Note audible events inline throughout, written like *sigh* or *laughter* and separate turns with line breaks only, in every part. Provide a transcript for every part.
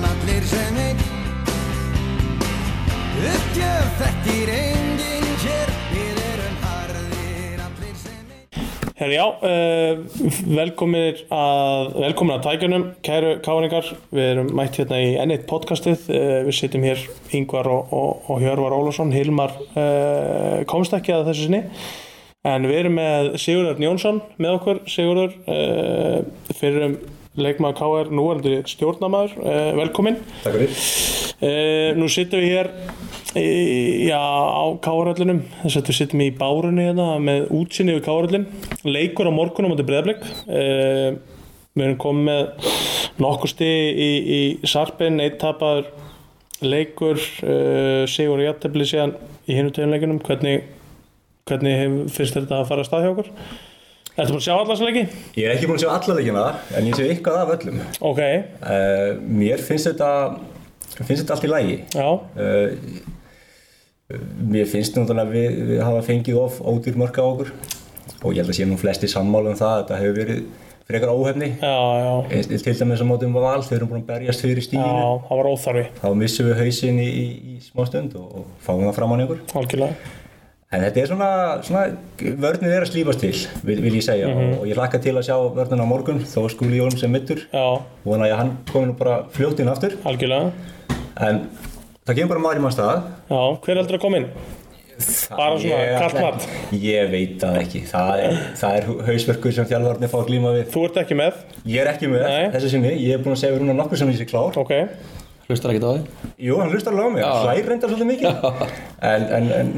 sem einn Uppgjöf þekkir enginn hér Við erum harðir allir sem einn
Herra já, uh, velkominir að, velkomin að tækjunum, kæru káningar, við erum mætt hérna í N1 podcastið, uh, við sitjum hér Yngvar og, og, og Hjörvar Ólafsson, Hilmar uh, komst ekki að þessu sinni, en við erum með Sigurður Jónsson með okkur, Sigurður, uh, fyrir um leikmaður KR, núverandi stjórnamaður, uh, velkomin.
Takk fyrir.
Uh, nú sittum við hér í, já, á Kárhöllinum þess að við sittum í bárunni hérna með útsinni við Kárhöllin leikur á morgunum á þetta breyðblik uh, við erum komið með nokkur stið í, í sarpin eitt tapar leikur uh, sigur í aðtefli síðan í hinu tegumleikunum hvernig, hvernig hef, finnst þér þetta að fara að stað hjá okkur Þetta búin að sjá allars leiki?
Ég er ekki búinn að sjá alla leikina, en ég sé eitthvað af öllum.
Ok,
Uh, mér finnst þetta, finnst þetta allt í lagi.
já,
Uh, mér finnst náttúrulega að við, við hafa fengið of ódýr mörg á okkur og ég held að sé nú flesti sammála um það að þetta hefur verið frekar óhefni.
já, já,
Eh, Til dæmis á mótum val, þeir eru búin að berjast fyrir
já,
stíðinu.
það var óþarfi,
Þá missum við hausinn í, í, í smá stund og, og fáum það fram á einhver.
algjörlega.
En þetta er svona, svona vörnir er að slífast til, vil, vil ég segja, og, og ég hlakka til að sjá vörnina á morgun, þó skúli Jón sem mittur,
Já,
vona ég að hann komi nú bara fljótt inn aftur,
algjörlega.
en það kemur bara maður í maður stað.
Já, hver heldur að koma inn? Bara svona,
Ég-
kalt mat.
Ég veit það ekki, það er, það er hausverkur sem þjálfarnir fá að glíma við.
Þú ert ekki með,
Ég er ekki með
Nei.
þessu sinni, ég er búin að segja við rúnar nokkur sem ég sé klár.
ok.
Hlustar ekkert á þig?
Jú, hann hlustar alveg á mig, hann hlær reyndar svolítið mikið, en, en, en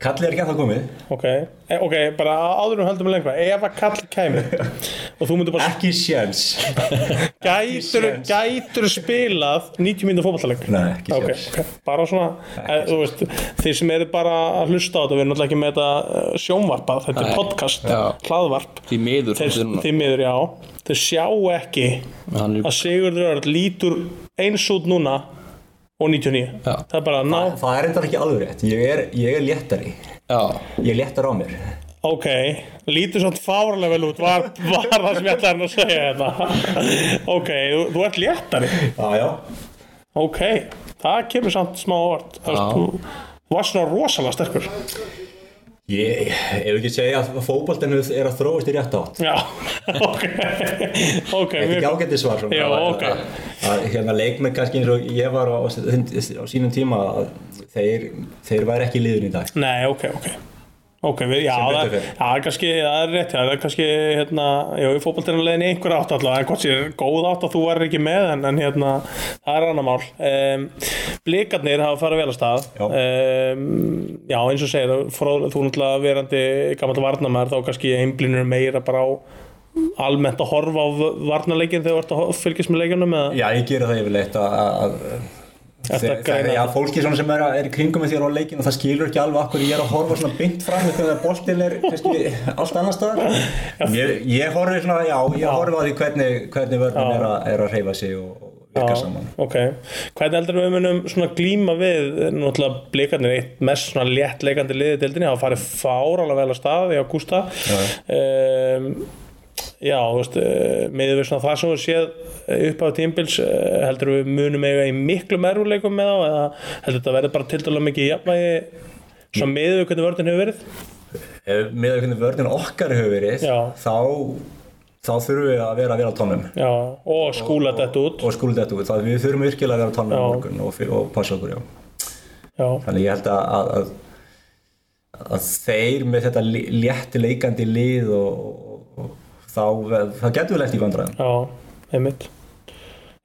kallið er ekki að það komið,
Ok, e, ok, bara áður um höldum við lengra Ef að kall
*laughs*
kæmi Og þú myndir bara
ekki séns.
gætur,
séns.
gætur spilað 90 mínútur fótballtaleg
Nei, ekki
Ok,
séns.
ok, bara svona e, Þú veist, þið sem eru bara að hlusta á þetta Við erum náttúrulega ekki með þetta eh, sjónvarpað Þetta
Nei.
er podcast,
Já.
hlaðvarp
Því miður
Þeir,
svolítið núna.
þið miður, já, þeir sjá ekki
Hann er
Að Sigurður Örn lítur eins út núna Og 99
Já.
Það er bara, ná,
Það er reyndar ekki alveg rétt, ég er, ég er léttari.
Já,
Ég léttar á mér.
Ok, lítur svona fárlega vel út var, var það sem ég ætlaði hann að segja þetta Ok, þú, þú ert léttari
Já, já.
Ok, það kemur samt smá orð Þú veist, þú- þú varst svona rosalega sterkur
Ég, ef ekki segja að fókbaltinu er að þróast í rétt átt.
Já, *laughs* ok Ok,
Þetta er
mjög
ekki ágættið svar svona.
Já,
að-
ok.
að- Að hérna leikmenn kannski eins og ég var á, á, á sínum tíma að þeir, þeir væri ekki í liðun í dag.
Nei, ok, ok Ok, við, já,
Sem
það,
betur fer.
já, það er kannski, það er rétt, já, það er kannski, hérna, já, í fótboltinu leiðin einhver átt allavega, en hvort sér er góð átt að þú var ekki með, en, en hérna, það er annar mál. Um, blikarnir hafa farið vel að stað,
Já.
um, já eins og segir, fróð, þú náttúrulega verandi gammal varnamæður, þá kannski einblínur meira bara á almennt að horfa á v- varnarleikinn þegar þú ert að ho- fylgjast með leikunum, eða?
Já, ég gera það yfirleitt að... að
Ertu að
Þeir, þeir,
greina
já, fólki svona sem er, að- er í kringum með þér á leikinu það skilur ekki alveg okkur ég er að horfa svona bynd fram þegar það boltin er kannski allt annar staðar ég, ég horfi svona, já, ég horfi á því hvernig, hvernig vörnum er, að- er að reyfa sig og, og virka saman
ok, hvernig heldur við munum svona glíma við náttúrulega blikarnir eitt mest svona léttleikandi liðið dildinni, hafa farið fáralega vel að stað í Augusta um, já, þú veist uh, með við svona það sem við séð eh, upp á tímbils, uh, heldur við munum eiga í miklu mervuleikum með þá eða heldur þetta verður bara tildalega mikið jafnvægi svona með við hvernig vörðin hefur verið
Ef með að hvernig vörðin okkar hefur verið
Já.
þá, þá þurfum við að vera að vera á tónum
já, og skúla þetta út
og skúlið þetta út, þá við þurfum virkilega að vera á tónum
Já.
á morgun og, fyr- og passa okkur, já
já,
Þannig ég held að, að, að, að þeir með þetta lé- létt leikandi lið og, og, og þá, þá getum við lett í vandræðum.
Já, einmitt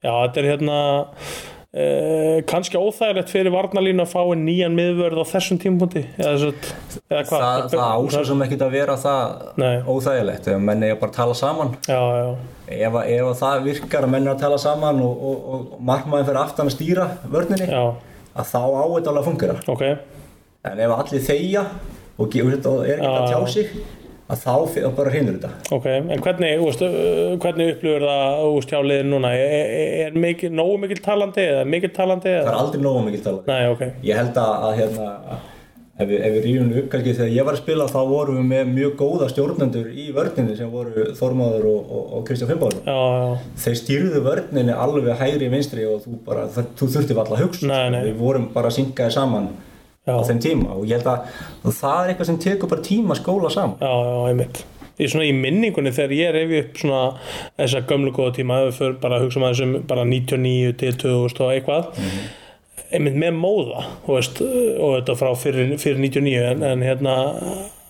Já, þetta er hérna eh, kannski óþægilegt fyrir varnalínu að fá einn nýjan miðvörð á þessum tímpúndi eða, svo, eða hvað
Það, það ásvo sem ekkert að vera það
Nei.
óþægilegt, ef menn eiga bara að tala saman.
Já, já,
Ef, að- ef að það virkar að menn er að tala saman og, og, og markmaðin fyrir aftan að stýra vörninni,
já,
að þá á þetta alveg að fungera.
ok
En ef allir þegja og gefur þetta og er ekki að
Já.
tjá sig, að þá fe- þá bara hreinur þetta.
Ok, en hvernig, úst, hvernig upplifur það úst, hjá liðin núna? Er, er- er mikil, nógu mikil talandi eða mikil talandi
Það
eða?
er aldrei nógu mikið talað.
Nei, ok,
Ég held að, að hérna, ef við, ef við rýfum upp kannski þegar ég var að spila þá vorum við með mjög góða stjórnendur í vörninni sem voru Þormáður og, og, og Kristján Fimboður
já, já,
þeir stýrðu vörninni alveg hægri vinstri og þú, bara, þar, þú þurfti varla að hugsa
Nei, nei.
við vorum bara að syngaði saman
Já.
á þeim tíma og ég held að það er eitthvað sem tekur bara tíma að skóla saman
já, já, einmitt í svona í minningunni þegar ég refi upp svona þessa gömlu góða tíma ef við fyrir bara að hugsa maður sem bara 99 til 2000 og eitthvað einmitt með móða þú veist, og þetta frá fyrir, fyrir 99 en, en hérna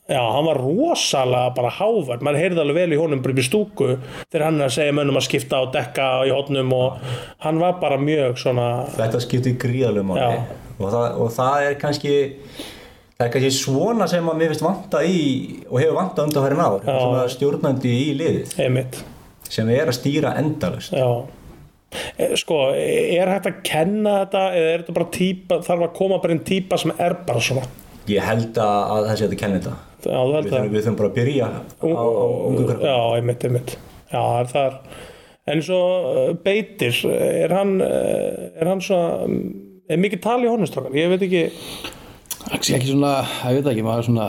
Já, hann var rosalega bara hávart maður heyrði alveg vel í honum bara upp í stúku þegar hann er að segja mönnum að skipta á dekka í hotnum og hann var bara mjög svona
þetta skiptir gríðalum og,
Já.
það, og það er kannski það er kannski svona sem að mér finnst vanta í og hefur vanta undanfærin ár svona stjórnandi í liðið
einmitt
sem er að stýra endalust
Já Eh, Sko, er hægt að kenna þetta eða er þetta bara típa, þarf að koma bara einn típa sem er bara svona
ég held að að það sé að kenna þetta
Já, þú
við
held
þurfum,
það
við þurfum bara að byrja á, á ungu krökkum
Já, einmitt, einmitt Já, það er þar En svo eh, Beitir, er hann eh, er hann svona er mikið tal í honum strákar, ég veit ekki
Ekki, ekki svona, ég veit það ekki, maður er svona,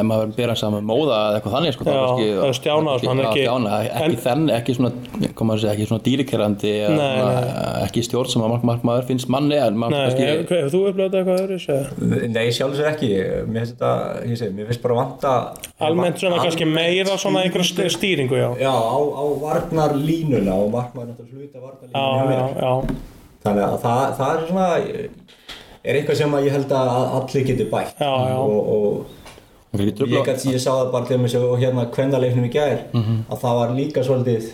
ef maður verður byrjað saman með móða eða eitthvað þannig, sko, þá
Já,
kannski...
eða Stjána,
kannski-
hann er
já,
ekki-
Stjána, ekki
en-
þenn, ekki svona, koma að segja, ekki svona dýrikerandi, eða
Nei,
svona,
nei.
ekki stjórn sem að mark, mark maður finnst manni, en maður
Nei,
kannski...
hef, hef þú upplöðið eitthvað öðru sér?
nei sjálfsög ekki mér finnst þetta ég segi, mér finnst bara vanta
Almennt svona
Al-
kannski meira svona einhverja stýringu, já
já á, á varnarlínuna og markmaður náttúrulega hluta
Já,
varnarlínuna hjá
já,
mér.
já,
þannig að það, það er svona er eitthvað sem að ég held að allir getur bætt
Já, já.
og, og
Hann kannski
ég,
trubla...
gat, ég sá það bara til mig og hérna kvendaleiknum í gær að það var líka svolítið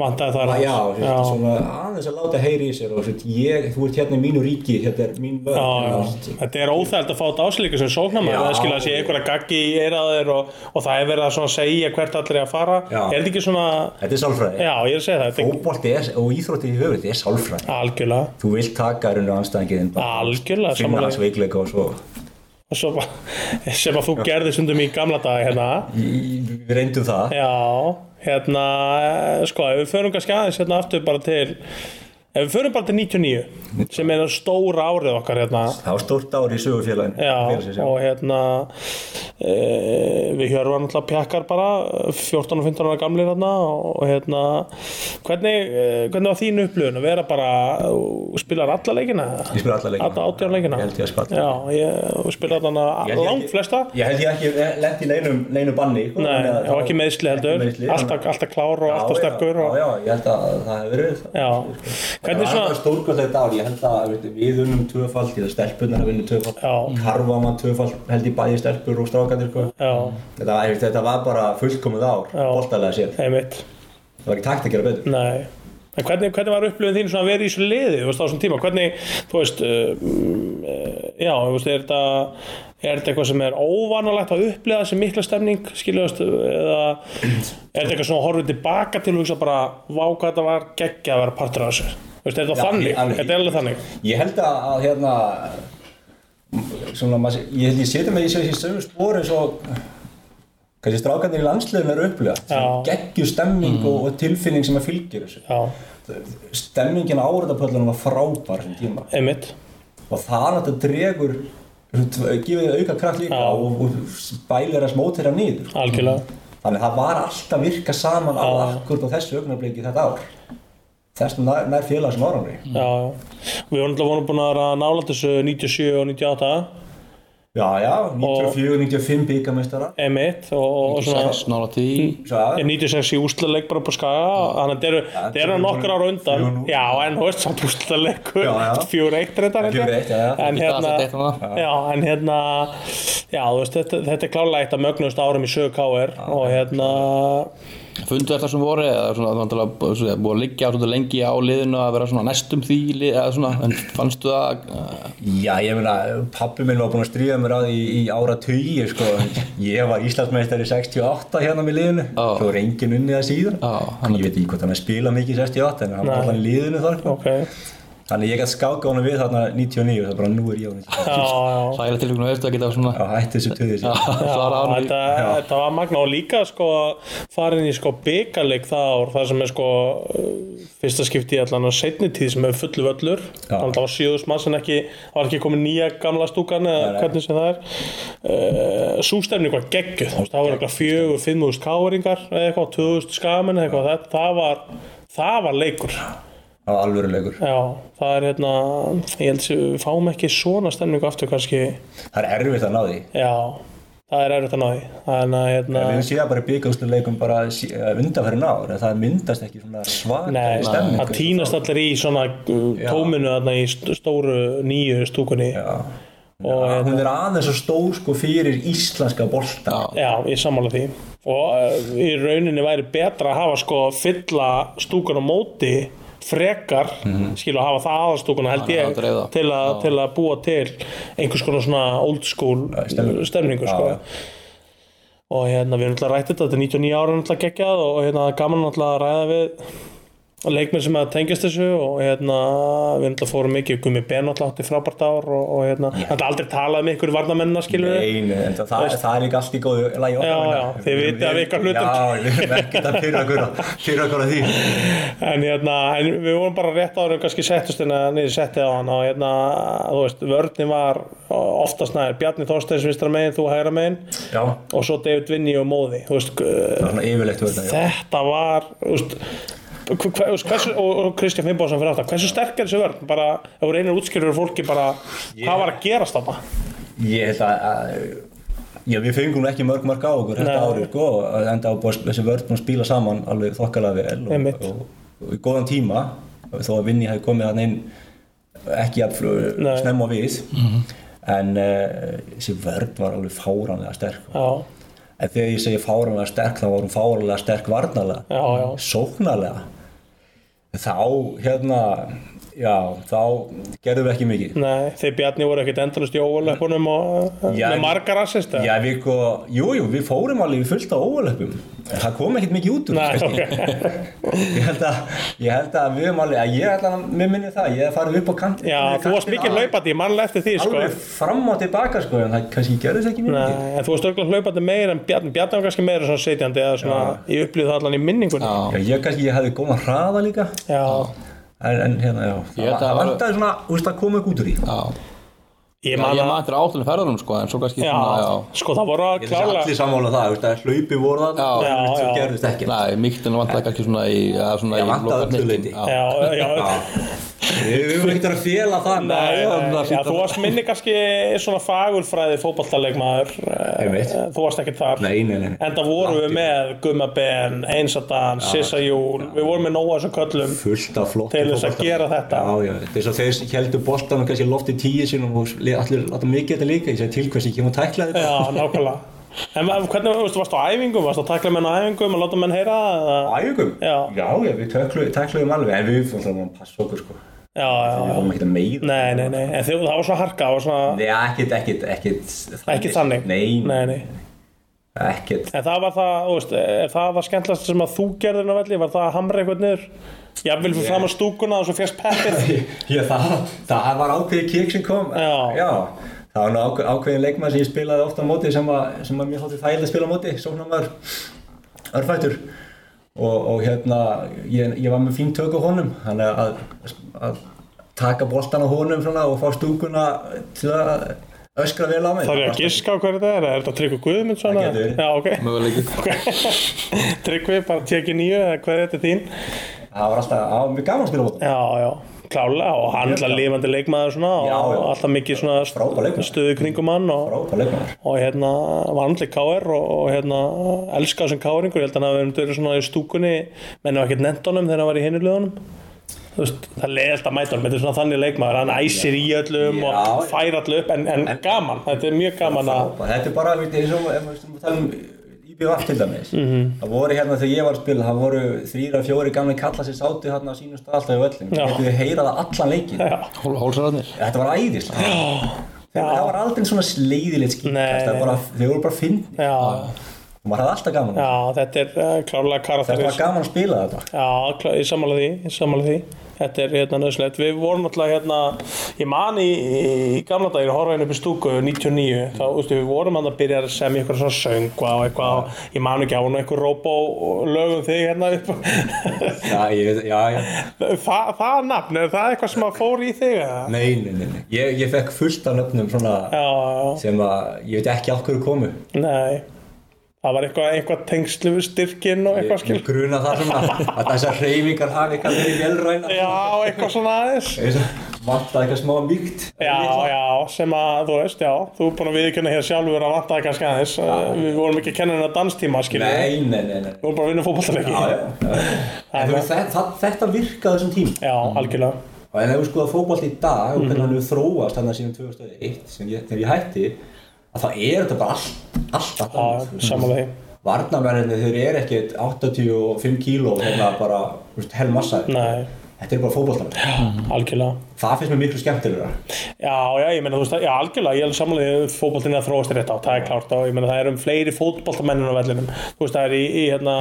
vantaði það
að já, já. svona aðeins að láta heyri í sér og svona, ég, þú ert hérna í mínu ríki þetta er mín vörð
Já,
og
já.
allt.
Þetta er óþægt að fá þetta áslíku sem sóknarmaður,
Já.
það skilja að sé einhverja gaggi í eiraðir og, og það er verið að svona segja hvert allir er að fara
Já.
er þetta ekki svona,
þetta er sálfræði
já ég er að segja það þetta
fótbolti er, og íþrótti í höfuð, þetta er sálfræði
er algjörlega,
þú vilt taka raunir anstæðingin
Algjörlega,
finna
samanlega.
hans veikleika og svo
Og svo, bara- sem að þú gerði sundum í gamla daga hérna,
Í- við reyndum það
já hérna, eh, sko ef við förum kannski aðeins hérna aftur bara til ef við förum bara til 99 sem er það stóra árið okkar hérna
það var stórt ár í sögufélagin
Já, og hérna e, við hjörfum alltaf pjakkar bara 14 og 15 ára gamlir hérna og hérna hvernig, e, hvernig var þín upplöfun að vera bara þú spilar alla leikina?
ég spila alla leikina
Alla 18 leikina?
ég held ég að spila alla
Já, ég þú spilar
Ég
þarna
held ég
langt
ekki-
flesta
Ég held ég ekki lett í neinum, neinum banni sko,
Nei,
þannig að
já,
það-
ekki meðsli heldur
meiðsli,
alltaf,
þannig að-
alltaf klár og
Já,
alltaf
já,
sterkur og,
Já, já, ég held að það hefur verið það.
já,
Það
hvernig
var
svona
stórkvæðlega dál, ég held að veit, við unnum tvöfald, ég það stelpunar að vinna tvöfald
Já.
Karfa mann tvöfald, held ég bæði stelpur og strákandir sko.
Já,
þetta, var- veit, þetta var bara fullkomið ár,
Já.
boltalega sér
einmitt
Það var ekki takt að gera betur
Nei En hvernig, hvernig var upplifun þín svona að vera í þessu liði þú veist, á þessum tíma, hvernig, þú veist uh, uh, já, þú veist, er þetta er þetta eitthvað sem er óvanalegt að upplifa þessi mikla stemning, skiljaðast eða er þetta eitthvað svona að horfa tilbaka til og hugsa bara, vá hvað þetta var geggja að vera partur af þessu, þú veist, er þetta
Já,
þannig,
alveg.
þetta er alveg þannig
Ég held að, að hérna svona, maður, sé- ég held ég setja mig í þessi sömu spóri svo kannski strákanir í landsliðum eru að upplifa
Já.
geggjur stemming og, og tilfinning sem að fylgir þessu
já,
stemmingin á áraðapöllunum var frábær sem tíma
einmitt,
og það náttúrulega dregur svona tv- gefur þið auka kraft
Já.
líka og, og bælir að smóta þeirra nýður
algjörlega
þannig að það var alltaf að virka saman á
Já.
akkurat á þessu augnabliki þetta ár þessum nær, nær félagsum árangri
já, já, við vorum alltaf vonum búin að vera nálægt þessu 97 og 98
já já, 94, 95 byggamestara
einmitt og, og svona
6, 9, 10...
Ég 96 í úrslaleik bara upp á skaga þannig að þetta eru- þetta eru
þetta er
nokkur ára undan
4-0.
já en þú veist samt úrslaleikur
Já, já.
4-1 reyndar held ég.
4-1, já, já.
en hérna
Þetta er þetta,
já en hérna já þú veist þetta, þetta er klálega eitt af mögnust árum í sögu KR og hérna
Fundu þær þar sem voru eða svona það var búið að liggja svolítið lengi á liðinu að vera svona næstum því lið- eða svona, en fannstu það eh,
Já, ég meina, pappi minn var búinn að stríða mér á því í ára tugi, sko. Ég var Íslandsmeistari 68 hérna með liðinu,
Já.
svo er enginn unnið það síðan.
Já, hann er-
ég veit ekki hvort hann er að spila mikið í 68, en hann var
Nei.
allan í liðinu þar, sko.
ok
Þannig ég gæti skáka honum við þarna 99 það er bara nú er ég á 99
já, já.
Sækilega tilfengun veist að geta svona
Já, hætti þessu sko. töðið
Já,
sér
*laughs* svara
Já,
ánum
þetta, þetta var magna og líka sko farin í sko byggarleik það ár það sem er sko uh, fyrsta skipti í allan á setni tíð sem er fullu völlur
Já.
þannig að það var síðust maður sem ekki var ekki komin nýja gamla stúkan eða
Nei, nei.
hvernig sem það er uh, sústefning var geggjuð þú veist, það var eitthvað fjögur, fimmúðust káringar eða eitthvað, tvöðust skamenn eitthvað það, það var það var leikur
á alvörulegur
já, það er hérna ég held að við fáum ekki svona stemningu aftur kannski,
Það er erfitt að ná því
já það er erfitt að ná því þannig að hérna
Við séum bara byggjumstuleikum bara sí- eh, undanfærin ár en það myndast ekki svona
Nei,
svakari stemningu
það týnast allir í svona uh, tóminu þarna í st- stóru nýju stúkunni Já,
Já.
Og, hérna-
Já, Hún er aðeins og stór sko fyrir íslenska bolta
ég sammála því og uh, í rauninni væri betra að hafa sko fylla stúkun á móti frekar, mm
Mhm.
að hafa það aðastúkuna held
Já,
ég
að dreifa.
til, a, til að búa til einhvers konar svona old school
stemningu.
stemningu
Já,
sko.
já.
og hérna við erum alltaf rætt þetta þetta er 99 ára alltaf geggjað og hérna gaman alltaf að ræða við leikmenn sem að tengjast þessu og hérna við erum alltaf fórum mikið Gumi Ben alltaf átti frábært ár og, og hérna þetta aldrei talað með ykkur varnamennina skilur við
Einu, en það, það, það er líka allt í góðu lagi okkar
Já,
vegna.
já, þið
Við-
vitið af
við-
ykkar hlutum.
Já, við erum ekkert að fyrir okkur fyrir okkur að því
en, hérna, en við vorum bara rétt áður en kannski settust hérna niður settið á hann og hérna, þú veist, vörðin var oftast næður, Bjarni Þorsteins vinstra megin, þú hægra megin
Já,
og svo David Vinni og Móði, þú veist
það er svona yfirleitt verðna já.
þetta var þú veist, hv- hver- þú veist, hversu, og, og Kristján Fimboðsson fyrir aftan, hversu sterk er þessi vörn bara, ef þú reynir að útskýra fyrir fólki bara, hvað var að gerast þarna
Ég held að, að Já, við fengum nú ekki mörg mörg á okkur þetta
Nei.
árið, sko, og enda á búið að þessi vörð búin að spila saman alveg þokkalega vel
Einmitt.
og, og, og í góðan tíma þó að Vinni hafi komið hann inn ekki að
Nei.
snemma á við en uh, þessi vörð var alveg fáranlega sterk
já,
en þegar ég segi fáranlega sterk þá var hún fáranlega sterk varnalega
já, já,
sóknarlega þá hérna já, þá gerðum við ekki mikið
nei þeir Bjarni voru ekkert endalust í óvalöpunum og
Já,
með margar assist eða?
já, við sko, jú, jú, við fórum alveg í fullt á óvalöpum en það kom ekkert mikið út úr
Nei,
því.
ok.
*laughs* ég, held að, ég held að við höfum alveg að ég held að mér minni það, ég hef farið upp á kant
já, þú varst mikið hlaupandi, ég mannlega eftir því sko.
alveg fram og tilbaka sko, en það kannski gerðist ekki mikið
Nei, en þú varst örgulega hlaupandi meira en Bjarni Bjarni var kannski meira svona setjandi eða svona, ég upplýði það allan í minningunni
Já,
Já, ég kannski ég hefði góðan hraða líka
já.
en, en hérna, já,
Ég held að
það
það var-
vantaði svona, þú veist, að koma ekki út úr því
já
ég
Já,
man
Ég
að
maður þetta áttunum ferðarum sko en svo kannski
já,
svona, já
sko það voru að
Ég þessi
klála
allir sammála um það, þú veist, að hlaupi voru það
Já.
Já,
en svo
já.
gerðist ekki
Nei, mýktinu vantaði kannski svona í eða svona
Já,
í
vantaði
lokahnikkinn,
öllu leyti.
já.
já, já,
Við við höfum ekkert að fela það
Nei,
já,
nei,
það
já,
hlýtur
þú
að-
varst minni kannski svona fagurfræði fótballtaleikmaður
Einmitt.
þú varst ekkert þar
Nei, nei, nei, nei.
enda vorum við með Gumma Ben, Einsadan, Sissa Júl við vorum með nóa þessum köllum
fullt af flott
Til þess að gera þetta.
Já, já, þess að þeir heldur boltanum kannski lofti tíu sinum og le- allir láta mikið þetta líka, ég segi til hversi ég kemur að tækla þetta
já, nákvæmlega en ma- hvernig, þú veist, varst á æfingum, varst að takla menn á æfingum og láta menn heyra það?
Á æfingum?
Já.
já, já, við tækluðum tækluðum alveg en við fannum að passa okkur sko við
já, já, já
fórum ekkert að meiða
nei, nei, nei, en þau, það var svona harka það var svona,
Nei, ekkert, ekkert, ekkert
ekki þannig
Nei,
nei, nei.
ekkert
En það var það, þú veist, ef það var skemmtilegast sem að þú gerðir inn á velli, var það að hamra eitthvað niður? Jafnvel fyrir fram á stúkuna og svo fjast peppið.
*laughs* Já, það, það var ákveðið kik sem kom
Já.
Það var nú ákve- ákveðin leikmann sem ég spilaði ofta á móti sem að, sem að mér þótti þægilega að spila á móti Sóknarmaður Örfættur og, og hérna, ég, ég var með fín tök á honum Þannig að, að taka boltan á honum svona og fá stúkuna til að öskra vel á mig
Það er ég að giska á hverju það er, er þetta Tryggvi Guðmund svona?
Það getur verið.
Já, ok.
Möguleiki
okay. *laughs* Tryggvi, bara tekið nýju, eða hver er þetta þín?
Það var alltaf, það var mjög gaman að spila á móti
Já, já, klálega og hann er alltaf lifandi leikmaður svona
Já,
og
já.
alltaf mikið
Frábær
svona
leikmaður.
stuðu kringum hann og,
Frábær leikmann
og hérna var andli káir og, og hérna elska þessum káringur, ég held að hann hafi verið verið svona í stúkunni, mennum ekkert nendunum þegar hann var í hinu liðunum Þú veist, það leiði alltaf mætunum, þetta er svona þannig leikmaður hann æsir í öllum
Já.
og fær allu upp en, en gaman, þetta er mjög gaman að
Bara, Þetta er bara, veit, eins og ef við um talum IBVF til dæmis
Mhm.
það voru hérna þegar ég var að spila það voru þrýra, fjóri gamli kalla sem sátu hérna á sínum stað alltaf í öllum
Já.
þetta við heyra það allan leikin
Já.
Hól- Hólsararnir
þetta var æðislega Þegar það var aldrei svona leiðilegt skil
Nei,
það er
nei.
bara, þeir voru bara fyndni
Já,
og maður hafði alltaf gaman að
Já, þetta er uh, klárlega
þetta var
karakterist
gaman að spila þetta
Já, klá, ég sammála því, ég sammála því Þetta er hérna nöðslegt Við vorum alltaf hérna Ég man í, í gamla dagir horfæðin hérna upp í stúku 99, þá ústu, við vorum að byrja að semja eitthvað svona söngva og eitthvað og ég man ekki á hún eitthvað robó lögum þig hérna upp *laughs*
já, ég, já, já,
Þa, Það er nafn, er það eitthvað sem að fór í þig? eða?
nei, nei, nei, nei. Ég, ég fekk fullt af nöfnum svona
Já, já,
sem að ég veit ekki af hverju komu
já, nei Það var eitthvað, eitthvað tengslu við styrkin og eitthvað skil
ég gruna það svona
*laughs*
að þessar hreyfingar hafi eitthvað verið velræna
Já, eitthvað svona aðeins
vantaði eitthvað smá mýkt
Já, já, sem að þú veist, já, þú er búin að viðkynna hér sjálfur að vantaði kannski aðeins, uh, við vorum ekki að kenna hennar danstíma, skiljum við,
nei, nei, nei, nei.
við vorum bara að vinna fótballtaleiki.
Já, já, já. En þú veist, það- það- þetta virkaði á þessum tím
Já, algjörlega.
og en ef við skoðum fókbalt í dag og hvernig hann hefur þróast hann að síðan 2001 sem ég, þegar ég hætti að þá er þetta bara allt, allt allt annað.
Já, samanlega því.
varnarverðinni þeir eru ekkert 85 kíló hérna bara þú veist, hel massa
Nei.
þetta er bara fókbaltarverð
Algjörlega.
það finnst mér miklu skemmtilegra
Já, já, ég meina, þú veist, já, algjörlega, ég er samanlega fótballtinn að þróast rétt á, það er klárt og ég meina, það er um fleiri fótballtamennir á vellinum, þú veist, það er í, í hérna,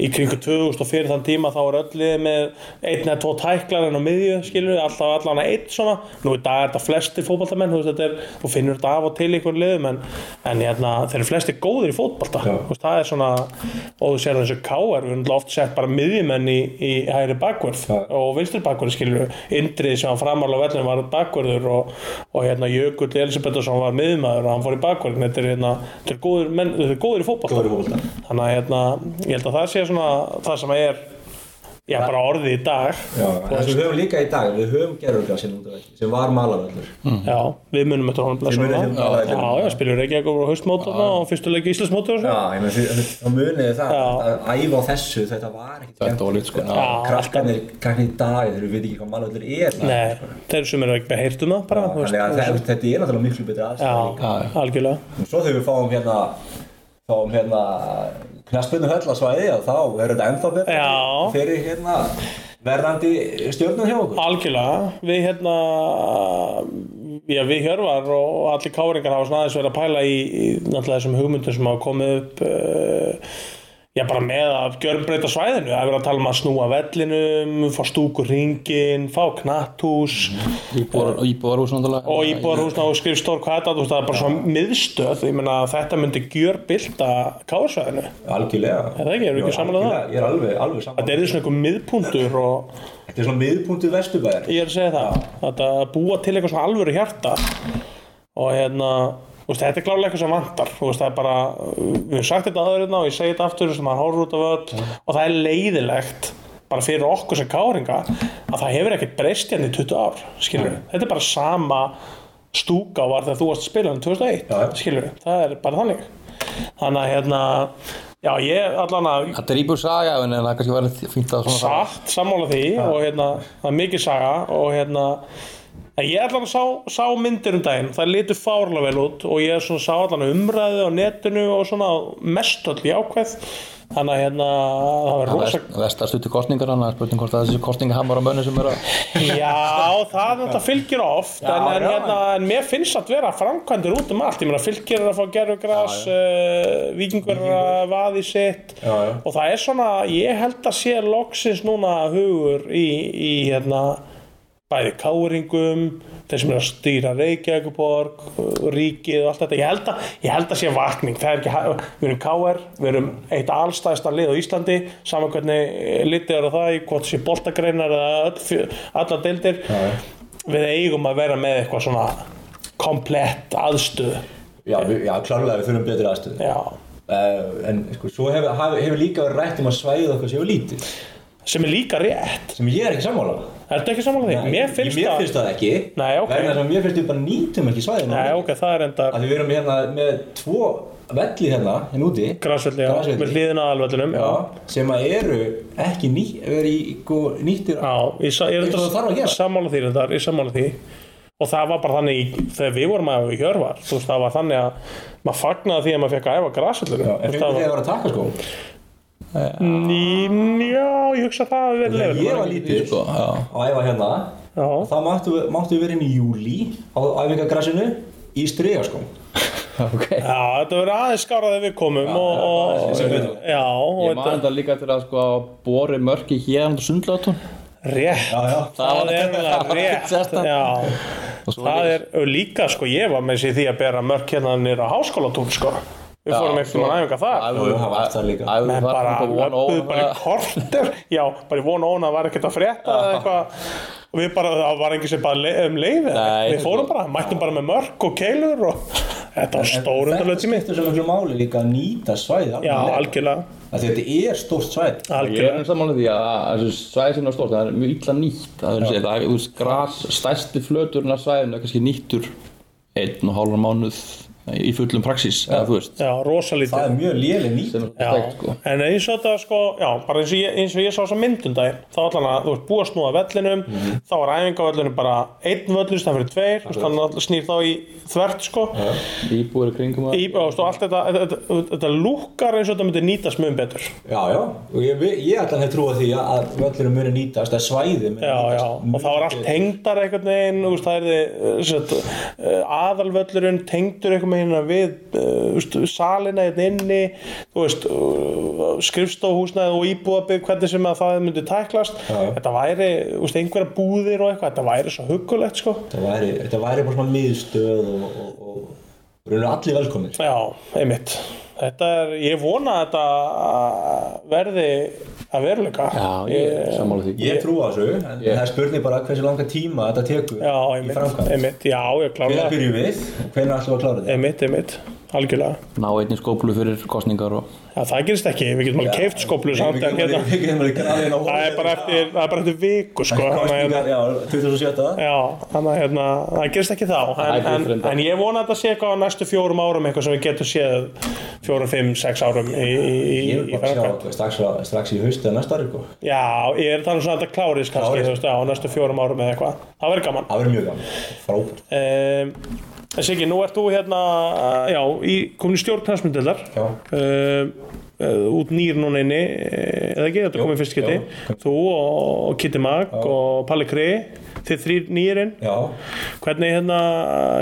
í kringu 2000 og fyrir þann tíma þá er öll liðið með einn eða tvo tæklar en á miðju, skilur við, alltaf allan að einn svona, nú í dag er þetta flesti fótballtamenn, þú veist, þetta er, þú finnur þetta af og til í einhvern liðum, en, en hérna, þeir eru flesti góðir í fótballta,
Já.
þú veist, það er svona, og þú sér eins og K.R. við erum oft sett bara miðjumenn í, í hægri bakvörð
Já.
og vinstri bakvörð skilur Indrið sem var framarlega vellin var bakvörður og, og hérna Jökull Elisabethsson var miðmaður og hann fór í bakvörð þetta er hérna, þetta er góður menn þetta er góður í fótball
góður fókbaltar
þannig að hérna, ég held að það sé svona það sem er, já bara orðið í dag
en það sem við höfum líka í dag við höfum gerurgras hérna út af ekki sem var malarverður
já, við munum eftir honum blessa
munum
núna.
eftir honum, já,
já, já, já, spilur Reykjavík og haustmót þarna og fyrstu leik Íslandsmóti og svo
já, ég meina því- því- þá muniði það
Já.
að æfa á þessu þetta var ekkert
Þetta var lít, sko, já.
Já,
krakkanir krakkanir í dag þeir veit ekki hvað malarverður er
Nei, þeir sem eru ekki með heyrtum það bara, þú
þannig að
veist,
þetta- þetta er náttúrulega miklu betri aðstæðing
já, algjörlega
Og Svo þegar við fáum hérna fáum hérna knaspunni höll að svæði og þá er þetta ennþá betra
Já.
fyrir hérna verðandi stjórnum hjá okkur
Algjörlega, við hérna já, við hjörvar og allir káringar hafa svona aðeins verið að pæla í, í náttúrulega þessum hugmyndum sem hafa komið upp uh, já, bara með að gjörbreyta svæðinu, það er verið að tala um að snúa vellinum, fá stúkur ringin fá knatthús
Íbúar, íbúar hús náttúrulega
og íbúarhúsna og skrifstór hvað þetta, þú veist, það er bara svona miðstöð, ég meina að þetta myndi gjörbylta kársvæðinu,
Algjörlega
það ekki, erum við ekki
Jú,
sammála um það?
algjörlega. Ég er alveg, alveg
þetta
samanlega
er svona einhver miðpuntur og
Þetta er svona miðpunktur vesturbæðar
ég er að segja það þetta að búa til eitthvað svona alvöru hjarta og hérna þú veist, þetta er klárlega eitthvað sem vantar þú veist, það er bara, við höfum sagt þetta aður hérna og ég segi þetta aftur sem maður horfur út af öll og það er leiðilegt bara fyrir okkur sem káringa að það hefur ekkert breyst hérna í 20 ár skilur þetta er bara sama stúka var þegar þú varst að spila um hann 2001
Já, já.
skilur það er bara þannig þannig að hérna já ég allan að
Þetta er íbúar saga en það er kannski verið fínt að svona
satt, sammála því og hérna, það er mikið saga og hérna en ég allan sá, sá myndir um daginn, það litur fárlega vel út og ég svona sá allan umræðu á netinu og svona mest öll jákvæð þannig að hérna, það var rosa
Vest- Vestar stutti kostningar hann, það er spurning hvort það er þessi kostningahamar á mönnu sem er að
Já, það þetta fylgir oft en, en,
já.
hérna, en mér finnst að vera framkvæmdur út um allt, ég meina fylgir er að fá gerugras, uh, vikingur er að vaði sitt
Já, já.
og það er svona, ég held að sé loksins núna hugur í, í hérna, bæði káringum þeir sem eru að stýra Reykjavíkuborg uh, ríkið og allt þetta ég held að, ég held að sé vakning Það er ekki, hæ- við erum KR, við erum eitt allstæðsta lið á Íslandi saman hvernig eh, litið eru það í hvort sé boltagreinar eða öll, fjö- allar deildir við eigum að vera með eitthvað svona komplett aðstöð
Já, við- já klárlega við þurfum betri aðstöðu
já.
uh, En sko, svo hefur hef, hef líka verið rætt um að svæðið okkar séu lítið
sem er líka rétt,
sem ég er ekki sammála
er þetta ekki samanlega því? mér finnst
mér
það
finnst það ekki
Nei, ok.
vegna þess að mér finnst við bara nýtum ekki svæðið
Nei, ok, það er enda
að við erum hérna með tvo velli hérna, hérna úti
græsvelli, já,
Grasvelli.
með hliðina aðalvöllunum já,
já, sem að eru ekki ný, eru í, sko, nýttir
Já, ég, sa- ég er
Eins og það þarf að
þetta
gera.
sammála því þetta, ég sammála því og það var bara þannig í, þegar við vorum að við hjörvar, þú veist, það var þannig að maður fagnaði því að maður fekk að æfa
Já,
grasallinu
en fengur þið að vera að taka sko
Já, ég hugsa að það hafi verið
þegar ég
leifin
var lítill
sko, já
á æfa hérna
Já,
þá máttu, máttu við vera inn í júli á æfingagrassinu í strega sko
ok
Já, þetta verður aðeins skárað þegar við komum og, og,
þetta var aðeins sem
já, og
Ég man
þetta
þetta líka til að sko bori mörki hér á sundlátun
rétt,
Já, já.
það er það *laughs* rétt,
sérstakt.
já, það er og líka sko, ég var með sér því að bera mörk hérna nýra háskólatún sko, við fórum ekkert
sko.
með næfinga það,
Jú, það var það líka.
menn bara löpuðu bara í korter, *laughs* já, bara í vona óna var ekkert að frétta eða eitthvað og við bara, það var engin sem bara le um leiði,
Nei,
við fórum bara, mættum bara með mörk og keilur og *laughs* þetta var stórundalöð sem mitt,
Þetta skiptir svo miklu máli líka að nýta svæði
já, algjörlega,
Þetta er stórt svæði
Ég er
algjörlega.
enn sammála því að að þessu svæði sinna á stórt, það er mjög illa nýtt það er að segja, það er úr gras, stærsti flöturinn af svæðinu er kannski nýttur einn og hálfan mánuð í fullum praxis, eða þú veist
Já, rosalítið.
Það er mjög léleg nýtt
sem er
Já,
stækt sko
en eins og þetta sko, já, bara eins og ég, eins og ég sá þess að myndundaginn, þá allan að þú ert búið að snúa vellinum, þá er æfinga á vellinum bara einn völlur stafn fyrir tveir, þú veist, þannig að snýr þá í þvert sko,
Íbúir í kringum að
í, og, og allt þetta, þetta, þetta, þetta lúkkar eins og þetta myndi nýtast mjög betur.
Já, já, og ég, ég ætla að trúa því að völlurum muni nýtast, að svæði muni
Já, já,
nýtast
og það var allt tengdar einhvern veginn, þú veist, það eh, er þið, sett, eh, aðalvöllurinn tengdur einhvern veginn við, uh, veist, salina hérna inni, þú veist, uh, skrifstofhúsnaði og íbúðabygg, hvernig sem að það myndi tæklast,
já.
þetta væri, þú veist, einhverja búðir og eitthvað, þetta væri svo huggulegt, sko.
Þetta væri, þetta væri bara svona miðstöð og, og, og, og raunir allir velkomnir
Já, einmitt. Þetta er, ég vona að þetta eh, verði að veruleika.
Já, ég er sammála því
Ég trúa þessu, en það er spurning bara hversu langa tíma þetta tekur
Já,
í
einmitt,
framkvæmd
einmitt, já, ég
Hvenær
klála.
byrjum við, hvenær ætlum við að klára þetta?
Einmitt, einmitt, algjörlega.
Ná einni skóplu fyrir kostningar og
Já, það gerist ekki, við getum alveg keift skóplu samt en hérna,
Við getum alveg grafið inn á
það er bara eftir, það er bara eftir viku sko, þannig að hérna,
Kostningar, já, 2007
já, þannig að hérna, það gerist ekki þá,
er
en,
fyrir
en,
frenda.
en ég vona að þetta sé eitthvað á næstu fjórum árum, eitthvað sem við getum séð fjórum, fimm, sex árum í, í, í,
Ég vil
í
bara
framkvæmd.
sjá strax, strax í haustu að næsta ári sko.
Já, ég er þannig svona að þetta klárist kannski,
Klárist.
þú veist, já, á næstu fjórum árum eða eitthvað, það verður gaman.
Það verður mjög gaman, frábært
Um, Siggi, nú ert þú hérna, já, í, komin í stjórn hansmyndildar
Já.
um, út nýr núna inni eh, eða ekki, þetta komið fyrst geti þú og Kitty Mag og Palli Krei, þið þrýr nýrinn
Já,
hvernig hérna,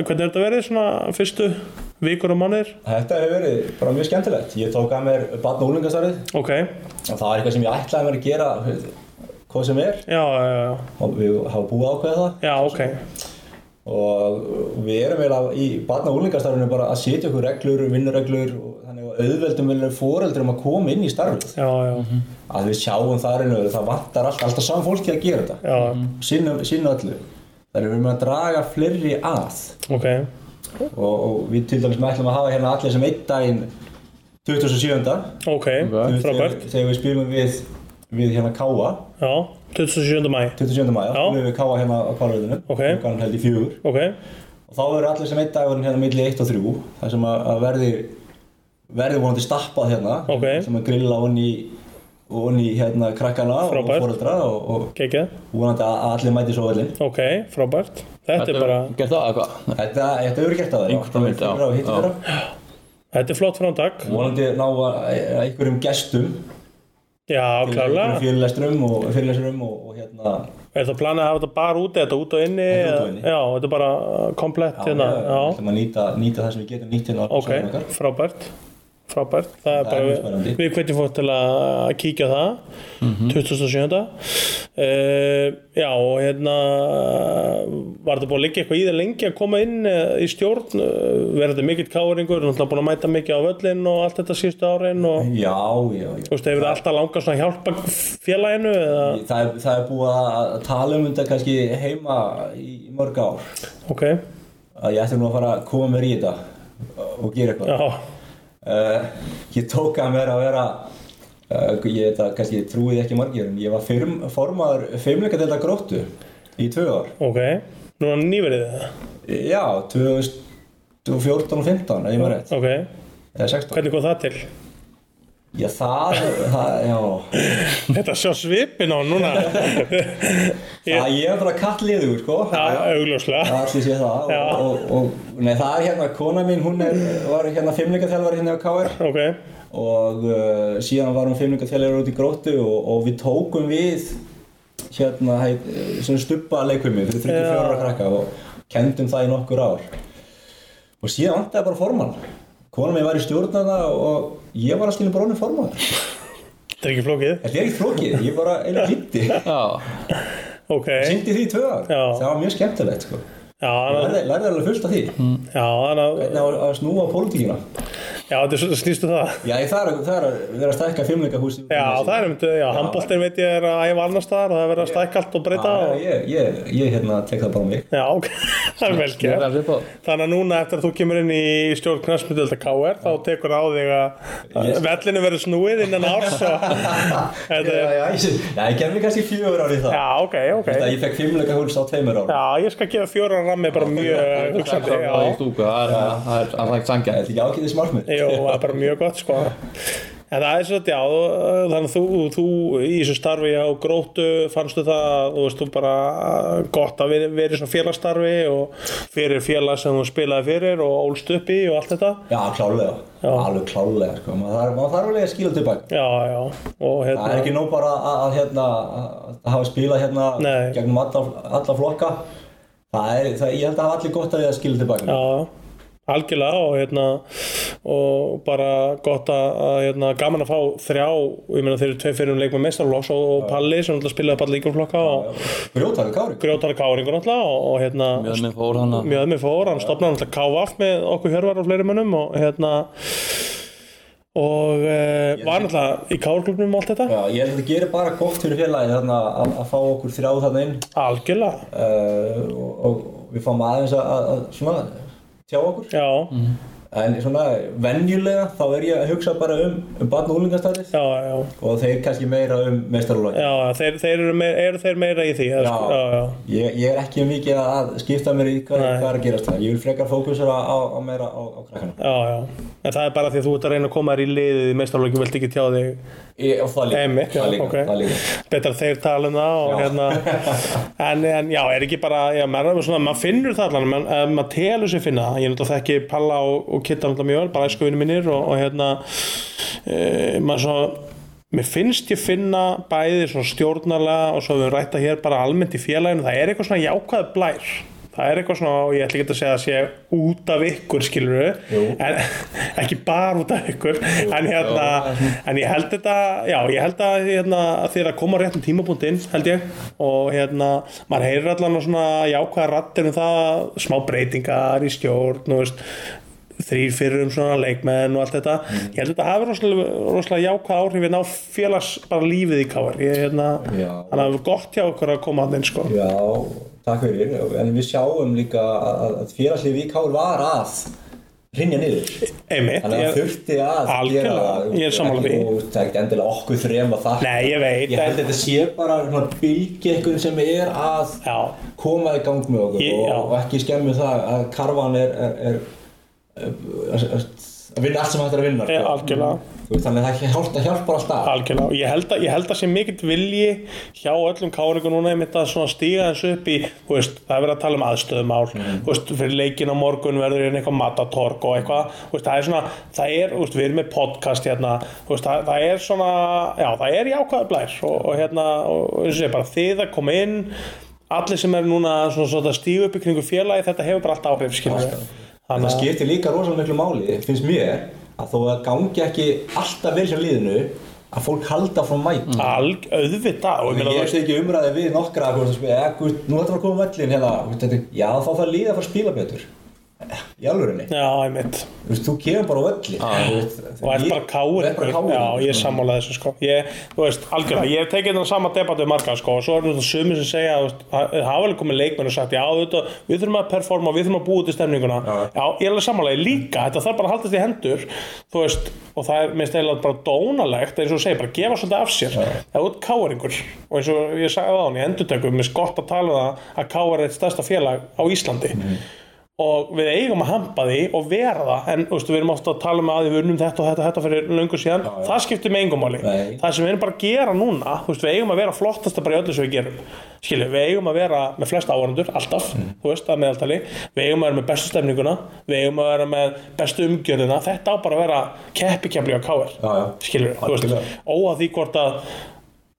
hvernig er þetta verið svona fyrstu vikur og mánuðir
þetta hefur verið bara mjög skemmtilegt Ég tók að mér barn og úlingastarið
ok,
og það var eitthvað sem ég ætlaði mér að gera hvað sem er
já, já, já,
og við hafa búið að ákveða það
já, ok
og við erum eiginlega í barn og úlingastarfinu bara að setja okkur reglur, vinnureglur og þannig að auðveldum viljum foreldrum að koma inn í starfið
já, já,
að við sjáum það einu öðru, það vantar alltaf, alltaf saman fólki að gera þetta
já,
sinna, sinna öllu þannig að við erum að draga fleiri að
ok
og, og við til dæmis ætlum að hafa hérna allir sem einn daginn 27.
ok,
Þú veist,
frábært,
þegar, þegar við spilum við, við hérna Káa
já 27. mæ,
27. maður,
Já.
spilum við Káa hérna á Kárvöðinu
Ok.
klukkan held í fjögur
ok
og þá verður allir sem einn dagurinn hérna milli 1 og 3 þar sem að, að verði verði vonandi stappað hérna
Ok.
sem að grilla onni onni hérna krakkana
Frábært.
og fóreldra og,
geggjað,
og vonandi að, að allir mæti svo allir
ok, frábært þetta er bara,
Gert það eða hvað?
Þetta, þetta hefur gert að það
Einhvern veginn, já.
og hitt
Já.
fyrra
þetta er flott framtak
vonandi ná að að einhverjum gestum
Já, klálega.
fyrirlesturum og fyrirlesturum og, og hérna
Er það planið að hafa þetta bara úti, þetta út og inni?
Þetta út og
eða-
inni.
Já, þetta er bara uh, komplett hérna.
við
Já,
ætlum að nýta, nýta það sem við getum nýtt hérna á
ok,
svæðinu okkar.
frábært. Frábært, það er
Það er
bara,
mjög
við,
spennandi. Mhm.
við hvetjum fólk til að að kíkja á það, 27. Uh, já, og hérna, var þetta búin að liggja eitthvað í það lengi að koma inn eh, í stjórn, Eh, verður þetta mikill káringur, náttúrulega búin að mæta mikið á völlinn og allt þetta síðustu árin og,
Já, já, já.
þú veist, hefur þetta alltaf langað svona að hjálpa félaginu eða,
Það, er- það er búið að að tala um þetta kannski heima í í mörg ár
ok,
að ég ætti nú að fara að koma mér í þetta og gera eitthvað.
já,
Uh, ég tók að mér að vera, uh, ég þetta kannski trúið ekki margir, en ég var firm, formaður feimleikadelda gróttu í tvö ár.
ok, núna nýverið það?
Já, 2014 og 15, ef ég maður rétt,
Ok,
eða 16.
hvernig kom það til?
Já, það, það, já,
Þetta sjá svipin á núna Ég-
Það ég er bara kallliður, sko.
Það er *laughs* augljóslega
Allir sé það.
Já.
Og, og, og, nei, það er hérna, kona mín, hún er, var hérna fimmleikaþjálfari hérna á KR
Ok,
og uh, síðan var hún fimmleikaþjálfari út í gróttu og, og við tókum við hérna, heit, eh, svona stubba leikvimi fyrir 34 ára krakka og kendum það í nokkur ár. Og og síðan vantaði bara formann konan mér var í stjórnana og ég var alltaf í brónu formann
Þetta er ekki flókið
þetta er ekki flókið, ég bara einu liti
Já,
Ok,
syndi því í tvö ár,
Já.
það var mjög skemmtilegt sko.
já, þannig-
lærði, lærði alveg fullt af því hvernig
já, þannig-
á að snúa á pólitíkina
já, þetta er svolítið snýstu það
já, ég þarf það er að vera að stækka fimmleikahúsi
Já, það er einmitt, já, handbóltin veit ég er að æfa annar staðar og það er verið að stækka allt og breyta
Já,
og...
ég, ég, ég hérna tek það bara á mig
Já, ok, *laughs* það er vel
það er
gert
hans upp á það.
Þannig að núna eftir að þú kemur inn í stjórn knastmyndelda KR þá tekur á þig að vellinu verður snúið innan árs og
Já,
þetta
já,
er...
já, ég, já, ég gerði kannski fjögur ári það
Já, ok, ok
Þetta ég fekk fimmleika húls á tveimur ári
Já, ég skal gefa fjóra rammi bara mjög
Það
hugsandi
er
já.
það í stúku, það er- það er það er ekki
Þetta
sangja
er ekki ágætið smartmið
Jú, það er bara mjög gott sko En það er svolítið, já, þú- þannig að þú, þú í þessu starfi á gróttu fannstu það, þú veist, þú bara gott að veri- vera í svona félagsstarfi og fyrir félag sem þú spilaði fyrir og ólst upp í og allt þetta
Já, klálega, alveg klálega sko. maður þarf, maður þarf alveg að skila tilbaka
Já, já, og
Það er
hérna
ekki nóg bara að, að, hérna, að hafa spilað hérna
Nei.
gegnum alla, alla flokka það er, það, Ég held að hafa allir gott að því að skila tilbaka
Já, algjörlega og hérna og bara gott að, að hérna, gaman að fá þrjá ég meina þeir eru tvei fyrir um leik með mestarflokks og, og Palli sem náttúrulega spilaði Palli líkjumflokka og
Grjótarðu Kári
grjótara káringur náttúrulega og, og hérna
Mjög minn fór hann að
mjög með fór, hann stopnaði alltaf KVF með okkur hjörvar og fleiri mönnum og hérna og e, var alltaf í kárklubnum og allt þetta,
Já, ég held að þetta gerir bara gott fyrir félagi þarna, að, að fá okkur þrjá þarna inn
algjörlega
uh, og, og við fáum aðeins að, að, að svona, tjá okkur
já,
en svona venjulega þá er ég að hugsa bara um, um barn og úlingastarið
já, já,
og þeir kannski meira um meistarúlega
já þeir, þeir eru, meir, eru þeir meira í því já, já, já,
Ég, ég er ekki mikið að skipta mér í hvað,
Nei.
hvað er að gerast það ég vil frekar fókusera á, á meira á, á krakkana
já, já en það er bara því að þú ert að reyna að koma þér í liðið í meistarlöki, vilt ekki tjá þig
ég, og það líka,
Einmitt, já,
það líka,
ok.
það líka.
betra að þeir tala um það og
Já.
hérna en, en já, er ekki bara, já, maður, er svona, maður finnur það allan, maður, eh, maður telur sér finna það ég náttúrulega þekki Palla og, og Kitta náttúrulega mjög vel, bara æskuvinni mínir og, og hérna e, maður svona mér finnst ég finna bæði svona stjórnarlega og svo við rætta hér bara almennt í félaginu, það er eitthvað svona jákvæð blær það er eitthvað svona, og ég ætla ekki að segja að sé út af ykkur skilur en, *laughs* ekki bara út af ykkur en hérna, en ég held þetta já, ég held að, hérna, að þið er að koma á réttum tímapunktinn, held ég og hérna, maður heyrir allan á svona jákvæða rattir um það, smá breytingar í stjórn og veist þrýr fyrir um svona leikmenn og allt þetta
Mm.
ég held að þetta hafi rosalega, rosalega jákvæð áhrif en á félags bara lífið í káar ég hérna,
Já.
þannig að það er gott hjá okkur að koma að þinn sko
já, takk fyrir en við sjáum líka að, að félagslið við káur var að rinja niður
einmitt,
þannig að
ég,
þurfti að
Algjörlega,
gera
ég er sammála því.
og það er ekki endilega okkur þrem að það
nei ég veit
ég held
en,
að þetta sé bara svona bylgi einhverjum sem er að
já,
koma í gang með okkur
Ég- já.
og, og ekki skemmu það að karfan er, er, er, er, er að vinna allt sem hægt er að vinna
ég,
sko.
algjörlega
Þú veist, þannig að það hjálpa, hjálpar alltaf
Algjörlega, og ég held að, ég held að sé mikill vilji hjá öllum káringu núna einmitt að svona stíga þessu upp í þú veist, það er verið að tala um aðstöðumál þú veist, fyrir leikin á morgun verður einn eitthvað matatorg og eitthvað, þú veist, það er svona það er, þú veist, við erum með podcast hérna þú veist, það, það er svona, já, það er jákvæða blær og, og hérna og eins og sé, bara þið að koma inn allir sem er núna svona, svona að stíga upp í kringu félagi, þetta hefur bara allt áhrif skilur við.
það
þannig að,
skiptir líka rosalega miklu máli finnst mér að þó að gangi ekki alltaf vel hjá liðinu að fólk halda frá mæt mm.
alg, auðvitað og ég meina, þú veist,
Ég hefst ekki umræði við nokkra hvort sem spila, "Eh, guð, nú þetta var að koma völlin hérna, guð, þetta- já þá þarf liðið að fara að spila betur í alvörinni
já, einmitt
Þú veist, þú kemur bara á völlin
og ert bara káur
Þú ert bara káur
já, ég er sammála þessu sko ég, þú veist, algjörlega, ég hef tekið þennan sama debattu marga sko, og svo er þetta sumir sem segja þú veist, það það hafa alveg komið leikmenn og sagt já, auðvitað, við þurfum að performa, við þurfum að búa til stemninguna já, ég er alveg sammála, ég líka þetta þarf bara að haldast í hendur þú veist, og það er minnst eiginlega bara dónalegt eins og þú segir, bara gefa svolítið af sér það er út káaringur, og eins og ég sagði á hann í endurtökum, minnst gott að tala um það að káar er eitt stærsta félag á Íslandi
Mhm.
og við eigum að hampa því og vera það en þú veist, við erum ofta að tala um að við unnum þetta og þetta, og þetta fyrir löngu síðan það skiptir með engum máli
Nei.
það sem við erum bara að gera núna þú veist, við eigum að vera flottasta bara í öllu sem við gerum Skilju, við eigum að vera með flest áhörnundur alltaf,
Mm.
þú veist, að meðaltali við eigum að vera með bestu stemninguna við eigum að vera með bestu umgjörðina þetta á bara að vera keppikefli á káir
Já, já.
skilur, þú veist,
Algjörlega.
óað því hvort að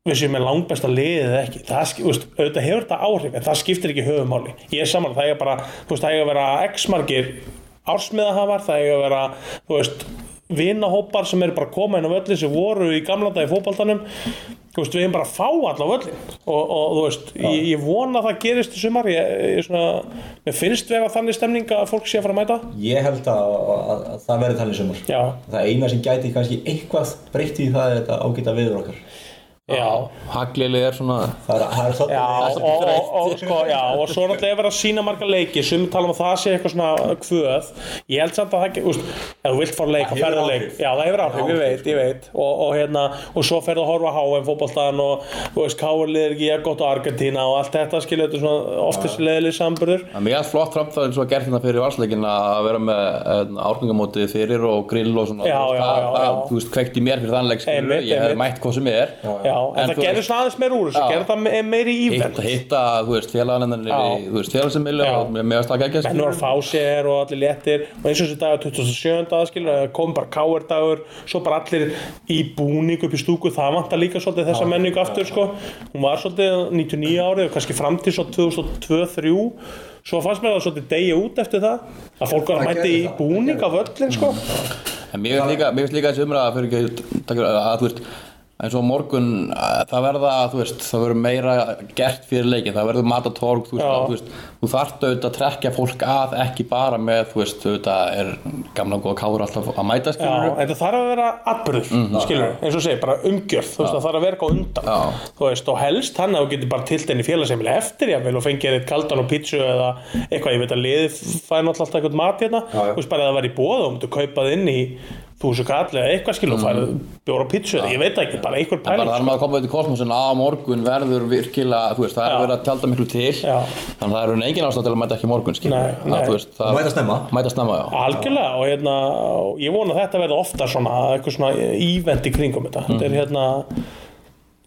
við séum með langbesta liðið eða ekki það, skip- þú veist, auðvitað hefur þetta áhrif en það skiptir ekki höfumáli ég er saman, það er bara, þú veist, það er að vera x margir ársmiðahafar, það eiga að vera þú veist, vinahópar sem eru bara að koma inn á völlin sem voru í gamla dag í fótboltanum þú veist, við erum bara að fá alla á völlin og, og þú veist, ég, ég vona að það gerist í sumar, ég, ég svona mér finnst vera þannig stemning að fólk sé að fara að mæta
Ég held að, að, að það verði þannig sumar.
Já.
Það eina sem gæti kannski eitthvað breytti í það er þetta ágæta viður okkar.
Já,
Haglili er svona
Það er, það er svolítið.
Já,
það
og,
er
og,
svolítið
og, sko, já, og svo er alltaf að vera að sína marga leiki sem tala um að það sé eitthvað svona kvöð ég held samt að það ekki, úst, ef þú vilt fara á leik þá
hefur
ferðu á leik,
áhrif.
já það hefur áhrif, ég veit, ég veit og, og hérna, og svo ferðu að horfa á HM fótboltan og, þú veist, Káurlið er ekki ég gott á Argentína og allt þetta skilur þetta er svona oftast leðileg samburður
Það er mjög flott framtæðin svo að gert hérna fyrir valsleikin að vera með árgangamóti fyrir og grill og svona
Já,
þú veist,
já,
það,
já,
það,
já.
Þú veist, kveikt í mér fyrir þannleik skilur,
Einmitt,
ég hef
einmitt.
mætt hvað sem er
já, en, það
En þú
gerður
veist-
svona aðeins meir úr þessu,
Já.
gerður það me- meiri ívend
hitta, hitta, þú veist, félagalendinni
Já.
þú veist, félagsemmili
Já.
og mér meðast að gegja
menn voru að fá sér og allir léttir og eins og þessi dagur 27. aðskilur það kom bara káir dagur svo bara allir í búning upp í stúku það vantar líka svolítið þessa menningu aftur sko. hún var svolítið 99 árið og kannski fram til svo 2002-3 svo fannst mér það svolítið degja út eftir það að fólk var að
Það
mæti
gerði
í
það, Mm.
búning af öllin sko.
En mér finnst líka, mér finnst líka þessi umræða fyrir ekki takk fyrir að þú veist eins og á morgun að það verða þú veist það verður meira gert fyrir leikin það verður matatorg þú veist,
Já.
að, þú veist þú þarft auðvitað að trekja fólk að ekki bara með þú veist auðvitað er gamla og góða káður alltaf að mæta
Já,
skilur
en það þarf að vera atbyrður, mm eins og segir, bara umgjörð, þú veist, það þarf að vera eitthvað undan,
Mhm. Já.
þú veist, og helst hann að þú getur bara tilt henni félagseimili eftir, jáfnvel, og fengið þér eitt kaldan og pítsu eða eitthvað, ég veit að liðið fæði náttúrulega alltaf eitthvað mat hérna,
Já, já.
þú veist, bara að það var í bóð og myndu kaupað inn í þúsu kalli eða eitthvað skil og færið bjóra og pítsu, eða ég veit það ekki, bara einhver
Mhm. En bara
pæling. sko.
þar maður að koma auðvitað í kosmosin að á morgun verður virkilega, þú veist, það er
Já.
verið að tjálta miklu til
Já.
þannig að það eru engin ástæð til að mæta ekki í morgun, skilur
Nei, nei.
Að, þú veist, það,
Mæta snemma.
Mæta snemma, já
Algjörlega og hérna, og ég vona að þetta verði ofta svona, eitthvað svona ívend í kringum þetta,
Mhm.
þetta er hérna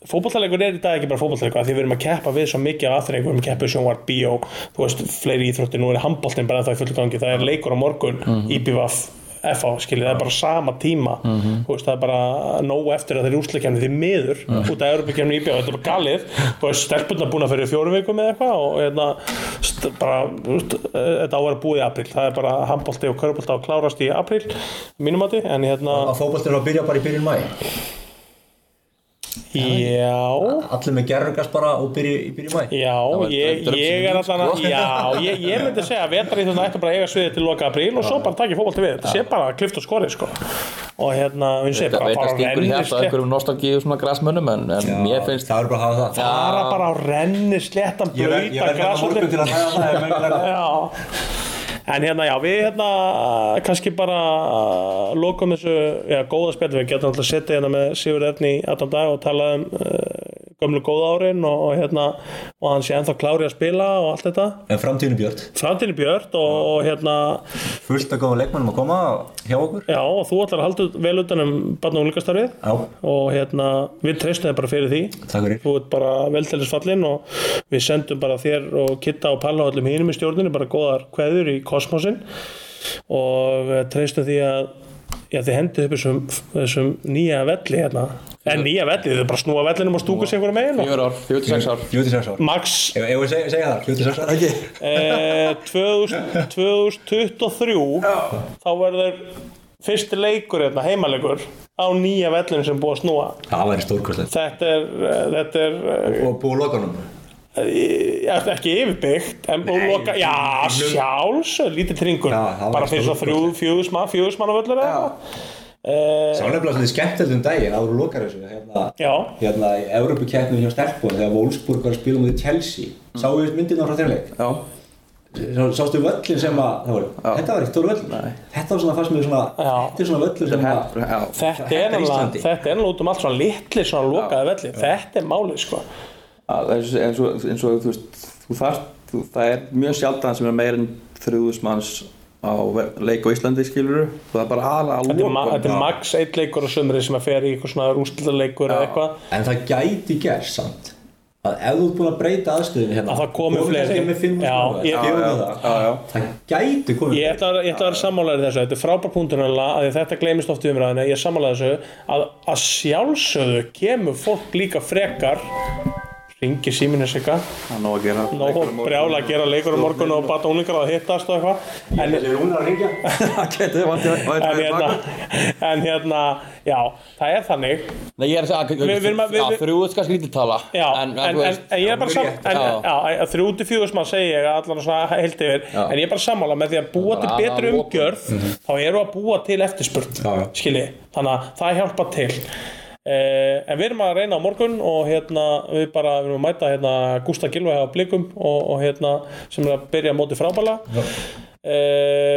fótballtalegur er í dag ekki bara fótballtalegur því við erum að keppa við svo mikið aðþreng við erum að keppa við sjónvar, bíó, þú veist fleiri íþróttir, nú er handbóltin bara það í fullu gangi það er leikur á morgun, mm -hmm. IBVF FA, skiljið, það er bara sama tíma þú veist, það er bara nóg eftir að þeir úrsleikjafni því miður, út af Europakefni IBVF, þetta er bara galið, þú veist, stelpunna búin að fyrir fjórum vikum eða eitthvað og hérna, st- bara, þú veist, eh, þetta á að vera búið í april, það er bara handbólti og körbólti að klárast í april, mínum að en hérna,
Að fótboltinn var að byrja bara í byrjun mæ.
já
Allir með gerðurgas bara og byrja í byrjun mæ.
Já,
var
ég,
drömsýning,
ég er allan að,
sko.
já, ég, ég myndi segja að vetri þetta ætti bara að eiga sviðið til loka apríl og svo bara takja fótbolti við, þetta sé bara klift og skorið, sko. Og hérna, hún sé
Þetta
bara
veit að
bara á
stingur hérna að
rennislétt,
einhverjum nostalgíu svona grasmönnum en, en mér finnst
Það verður bara að hafa það.
bara bara á rennisléttan,
Ég verð
blöyta
hérna á morgun til
grasvöldin.
að ræða það ef menn vilja ræða það.
Já, en hérna, já, við hérna, kannski bara uh, lokum þessu, já, góða spjallum, við getum alltaf að setja hérna með Sigur Erni í allan dag og tala um uh, gömlu góða árin og, og hérna, og hann sé ennþá klári að spila og allt þetta. *laughs*
En framtíðinu björn.
framtíðin er björt og, og hérna
Fullt að góða leikmannum að koma hjá okkur.
já og þú ætlar að halda vel utan um barn og úlíkastarfið
Já,
og hérna við treystum þér bara fyrir því
takk fyrir.
þú ert bara veltælisfallin og við sendum bara þér og Kitta og Palla og öllum hínum í stjórninu bara góðar kveður í kosmosin og við treystum því að já þið hendið upp þessum, þessum nýja velli hérna en nýja velli, þið bara snúa vellinum og stúku sig einhverju megin og
fjögur ár, 46 ár
Júti sex ár.
max
Ef ef við segja, segja það, júti sex ár. Ekki.
eh, 2000, 2023 þá verður fyrsti leikur hérna, heimalegur á nýja vellinu sem er búið að snúa
Það væri stórkostlegt.
þetta er, eh, þetta er
Og búið lokanum.
eh, ja, ekki yfirbyggt en og loka, já sjálfs lítið tringur,
Já, það var
bara fyrir svo þrjú fjögusmann, fjögusmann á völlur eða eitthvað. Eh,
Það var nefnilega svolítið skemmtilegt um daginn að þú lokar þessu. Hérna,
Já.
Hérna í Evrópukeppnum hjá Stelpun þegar Wolfsburg var að spila mútið Chelsea. Sáu við myndina frá þeirra leik?
já,
Sá- Sástu völlin sem að, það voru, þetta var ekkert stór völlin. Þetta var svona það sem við svona,
Já.
þetta er svona völlin sem að,
já.
þetta
Þetta
er
er
ennlega
Íslandi.
þetta er ennlega út um allt svona litli svona lokaði velli, þetta er málið sko
Að, eins, og- eins, og, eins og þú veist þú þarft, þú, það er mjög sjaldan sem er meir en þrjúðusmanns á ve- leik á Íslandi skilur það er bara aðla að
þetta er, ma
lokum.
þetta er max eitt leikur á sömri sem að fer í eitthvað svona rústilaleikur eða eitthvað
en það gæti gerst samt að ef þú ert búin að breyta aðstöðinu hérna
Að það komi fleiri.
kannski með fimm
Já,
þúsund
ég-
ára, gefum við
já,
það.
já, já.
það gæti komið
Ég
fleiri.
ætla, að- ég ætla að vera sammálaður í þessu, þetta er frábær punktur nefnilega, af því að þetta gleymist oft í umræðinu, ég er sammálaður þessu, að, að sjálfsögðu kemur fólk líka frekar ringir síminn þessu eitthvað
Það er nóg að gera
nóg brjála að gera leikur á morgun og bata unglingar að hittast og eitthvað en,
Þessi rúnar *laughs* að ringja
Það getur vantið að
en,
væri
hérna,
baka
*laughs* en hérna já, það er þannig
Nei, ég er að segja
Við- við erum að- við-
að
við-
þrjú er kannski lítið tala
já, en,
en
en, en,
þú veist-
ég er bara sam,
rétt.
en,
Já.
já, já, þrjú til fjögur sem að segja ég allan svona heilt yfir
Já.
en ég er bara sammála með því að búa
Bara
til
að
betri
lokum.
umgjörð þá eru að búa til eftirspurn
Já, já.
skilji, þannig að það hjálpa til Uh, en við erum að reyna á morgun og hérna við bara við erum að mæta hérna Gústa Gilvæg á Blikum og, og hérna sem er að byrja á móti frábæla uh,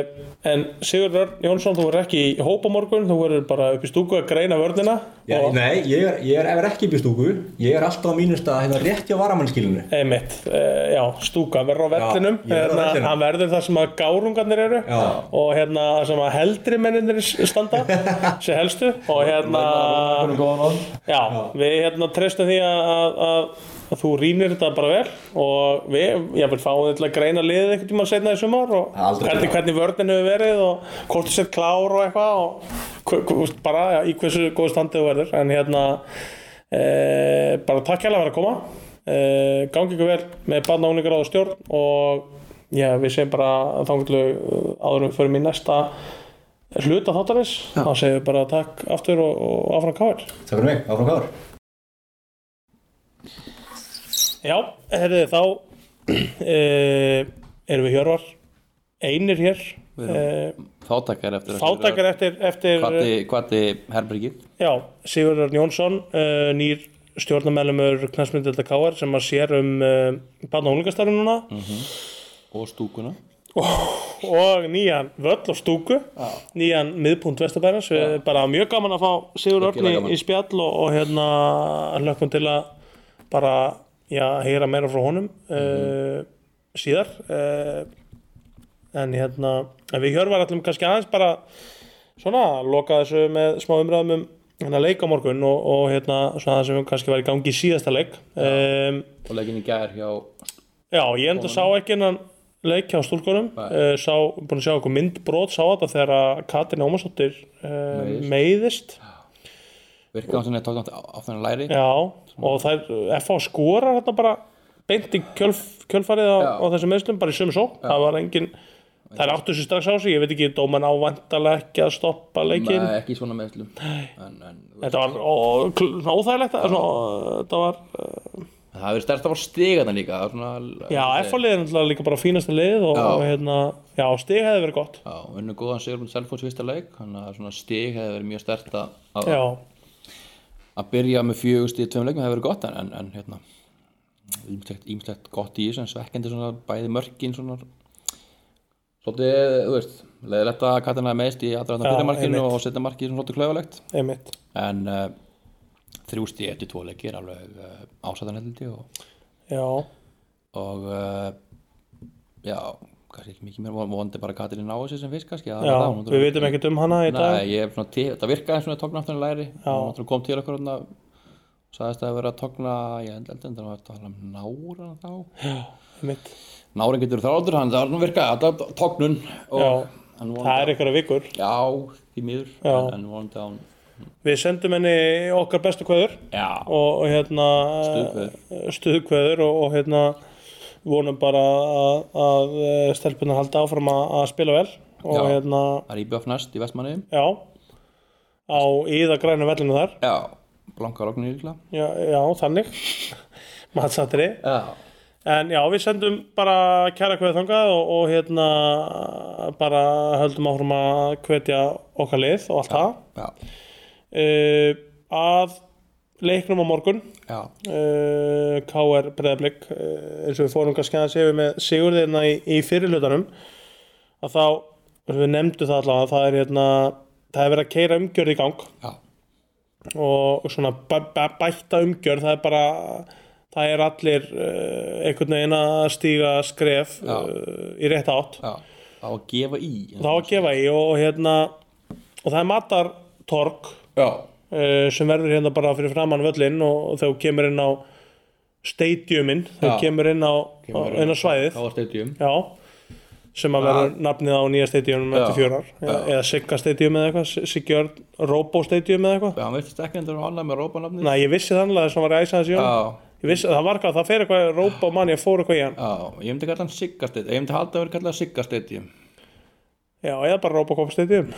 en Sigur Örn Jónsson þú verður ekki í hópa morgun þú verður bara upp í stúku að greina vörnina
Já,
og,
nei, ég er, ég er, ef er ekki upp í stúku Ég er alltaf á mínum stað hérna rétt hjá varamannskilinu
Einmitt, uh, já, stúka, hann verður á vellinum
ég verður á
hérna,
vellinum.
hann verður þar sem að gárungarnir eru
Já.
og hérna þar sem að heldri menninir standa
*laughs*
sem helstu og hérna já, við hérna treystum því að, að, að, að þú rýnir þetta bara vel og við, ég vil fá þið til að greina liðið einhvern tímann seinna í sumar og
Aldrei.
hvernig, hvernig vörnin hefur verið og hvort þú sett klár og eitthvað og hv- hv- veist, bara já, í hversu góðu standið þú verður en hérna Eh, bara takk hérlega fyrir að koma eh, gangi ykkur vel með barna úlingar á stjórn og já, við segjum bara uh, þanglu áðurum fyrir mér næsta hluta þáttarins þá segjum við bara takk aftur og, og áfram káir
Það fyrir mig, áfram káður
já, herriði þá *clears throat* eh, erum við hjörvar einir hér eh,
Fátækar eftir
fátakar eftir, eftir eh,
Hvati herbergið
Já, Sigurður Jónsson, uh, nýr stjórnarmælumur knæsmyndelda K.R. sem að sér um uh, barna og úlingastarfum núna
og stúkuna
og nýjan völl og stúku nýjan miðpunkt Vesturbærans við bara mjög gaman að fá Sigur Örni
Virkilega gaman.
í spjall og, og hérna hlökkum til að bara já, heyra meira frá honum
Mhm.
uh, síðar uh, en hérna en við hjörvar allum kannski aðeins bara svona loka þessu með smá umræðum um hérna leik á morgun og, og hérna svona það sem kannski var í gangi í síðasta leik um,
og leggin í gær hjá
Já, ég enda sá ekki innan leik hjá stúlkunum uh, sá, búin að sjá eitthvað myndbrot sá þetta þegar að Katrin Ómarsdóttir uh,
Meiðist.
meiðist
virkaðan sem ég tók á þennan læri
Já, og þær FH skorar hérna bara beint í kjölf, kjölfarið á,
Já.
á þessum meðslum, bara í sömu sók það var engin, þær áttu sér strax á sig ég veit ekki, dóman ávæntalega ekki að stoppa leikin
Nei, ekki í svona meðslum en, en,
Þetta var ó- kl- svona óþægilegt að- svona, þetta var,
það hefur stærst að fara stiga þarna líka það er svona,
já, FH-liðin eh, er náttúrulega líka bara fínasta lið og,
Já.
og hérna, já, stig hefði verið gott
já, unnu góðan sigur um Selfons fyrsta leik þannig að svona stig hefði verið mjög stærst að- að
Já,
að byrja með fjögur stíð tveim leikum hefur verið gott en, en, en hérna ýmslegt, ýmslegt gott í þessu en svekkjandi svona bæði mörkin svona svolítið, þú veist leiðilegt að Katarina meðist í aðræðan
Já,
fyrir markinu
einmitt.
og setja markið svona svolítið klaufalegt
einmitt
en uh, þrjú stíð eftir tvo leiki er alveg uh, ásætan heldur og,
Já,
og uh, já, kannski ekki mikið mér vonandi bara að Katarina á þessu sem fyrst kannski
Já, við veitum ekkert um hana í dag
Nei, ég hef svona til, það virkaði svona tókna aftur í læri og náttúrulega kom til okkur hérna sagðist að vera að tókna ég held heldur en það var að tala um náran þá
mitt.
náran getur þráldur, hann það var nú virkaði þetta var tóknun og
Já,
hann
Það
vonandi
er einhverja vikur
já, því miður
Já.
en, en vonandi að hann
Við sendum henni okkar bestu kveður
já,
og, og hérna stuðkveður og, og hérna vonum bara að, að stelpunar halda áfram að, að spila vel og
Já.
hérna,
það er íbjöf næst í Vestmanni
já á íðagrænu vellinu þar
já, blankar okkur nýrkla
já, já þannig *laughs* matsatri
já,
En já, við sendum bara kæra kveðið þangað og, og hérna bara höldum áfram að hvetja okkar lið og allt
já,
það. Uh, að leiknum á morgun,
já,
uh, KR Breiðablík, uh, eins og við fórum kannski aðeins yfir með Sigurðina í, í fyrirlutanum, að þá, við nefndu það allavega, það er hérna, það er verið að keira umgjörð í gang
já,
og svona bæ- bæ- bætta umgjörð það er bara það er allir uh, einhvern veginn að stíga skref uh, í rétt átt
já þá að gefa í
þá að gefa í og hérna og það er matartorg
já,
uh, sem verður hérna bara fyrir framann völlinn og þegar þú kemur inn á stadiumin þegar
Já.
þú kemur inn á,
Kemur
á, inn á svæðið
þá að steytjum
já sem að verður nafnið á nýja stadiuminum eftir fjórar eða, eða Sigga stadium eða eitthvað Sigjörn Robo stadium eða eitthvað
já, hann veist ekki en það var annað með rópanafni
Nei, ég vissi þannig að það var æsaðans í honum
já,
Ég vissi að það var eitthvað, það fer eitthvað rópa og manni að fóra eitthvað í hann.
Já, ég myndi kalla hann Siggasteyt Ég myndi halda að vera kallað Siggasteyt Já,
Já, eða bara rópa komst þetta um.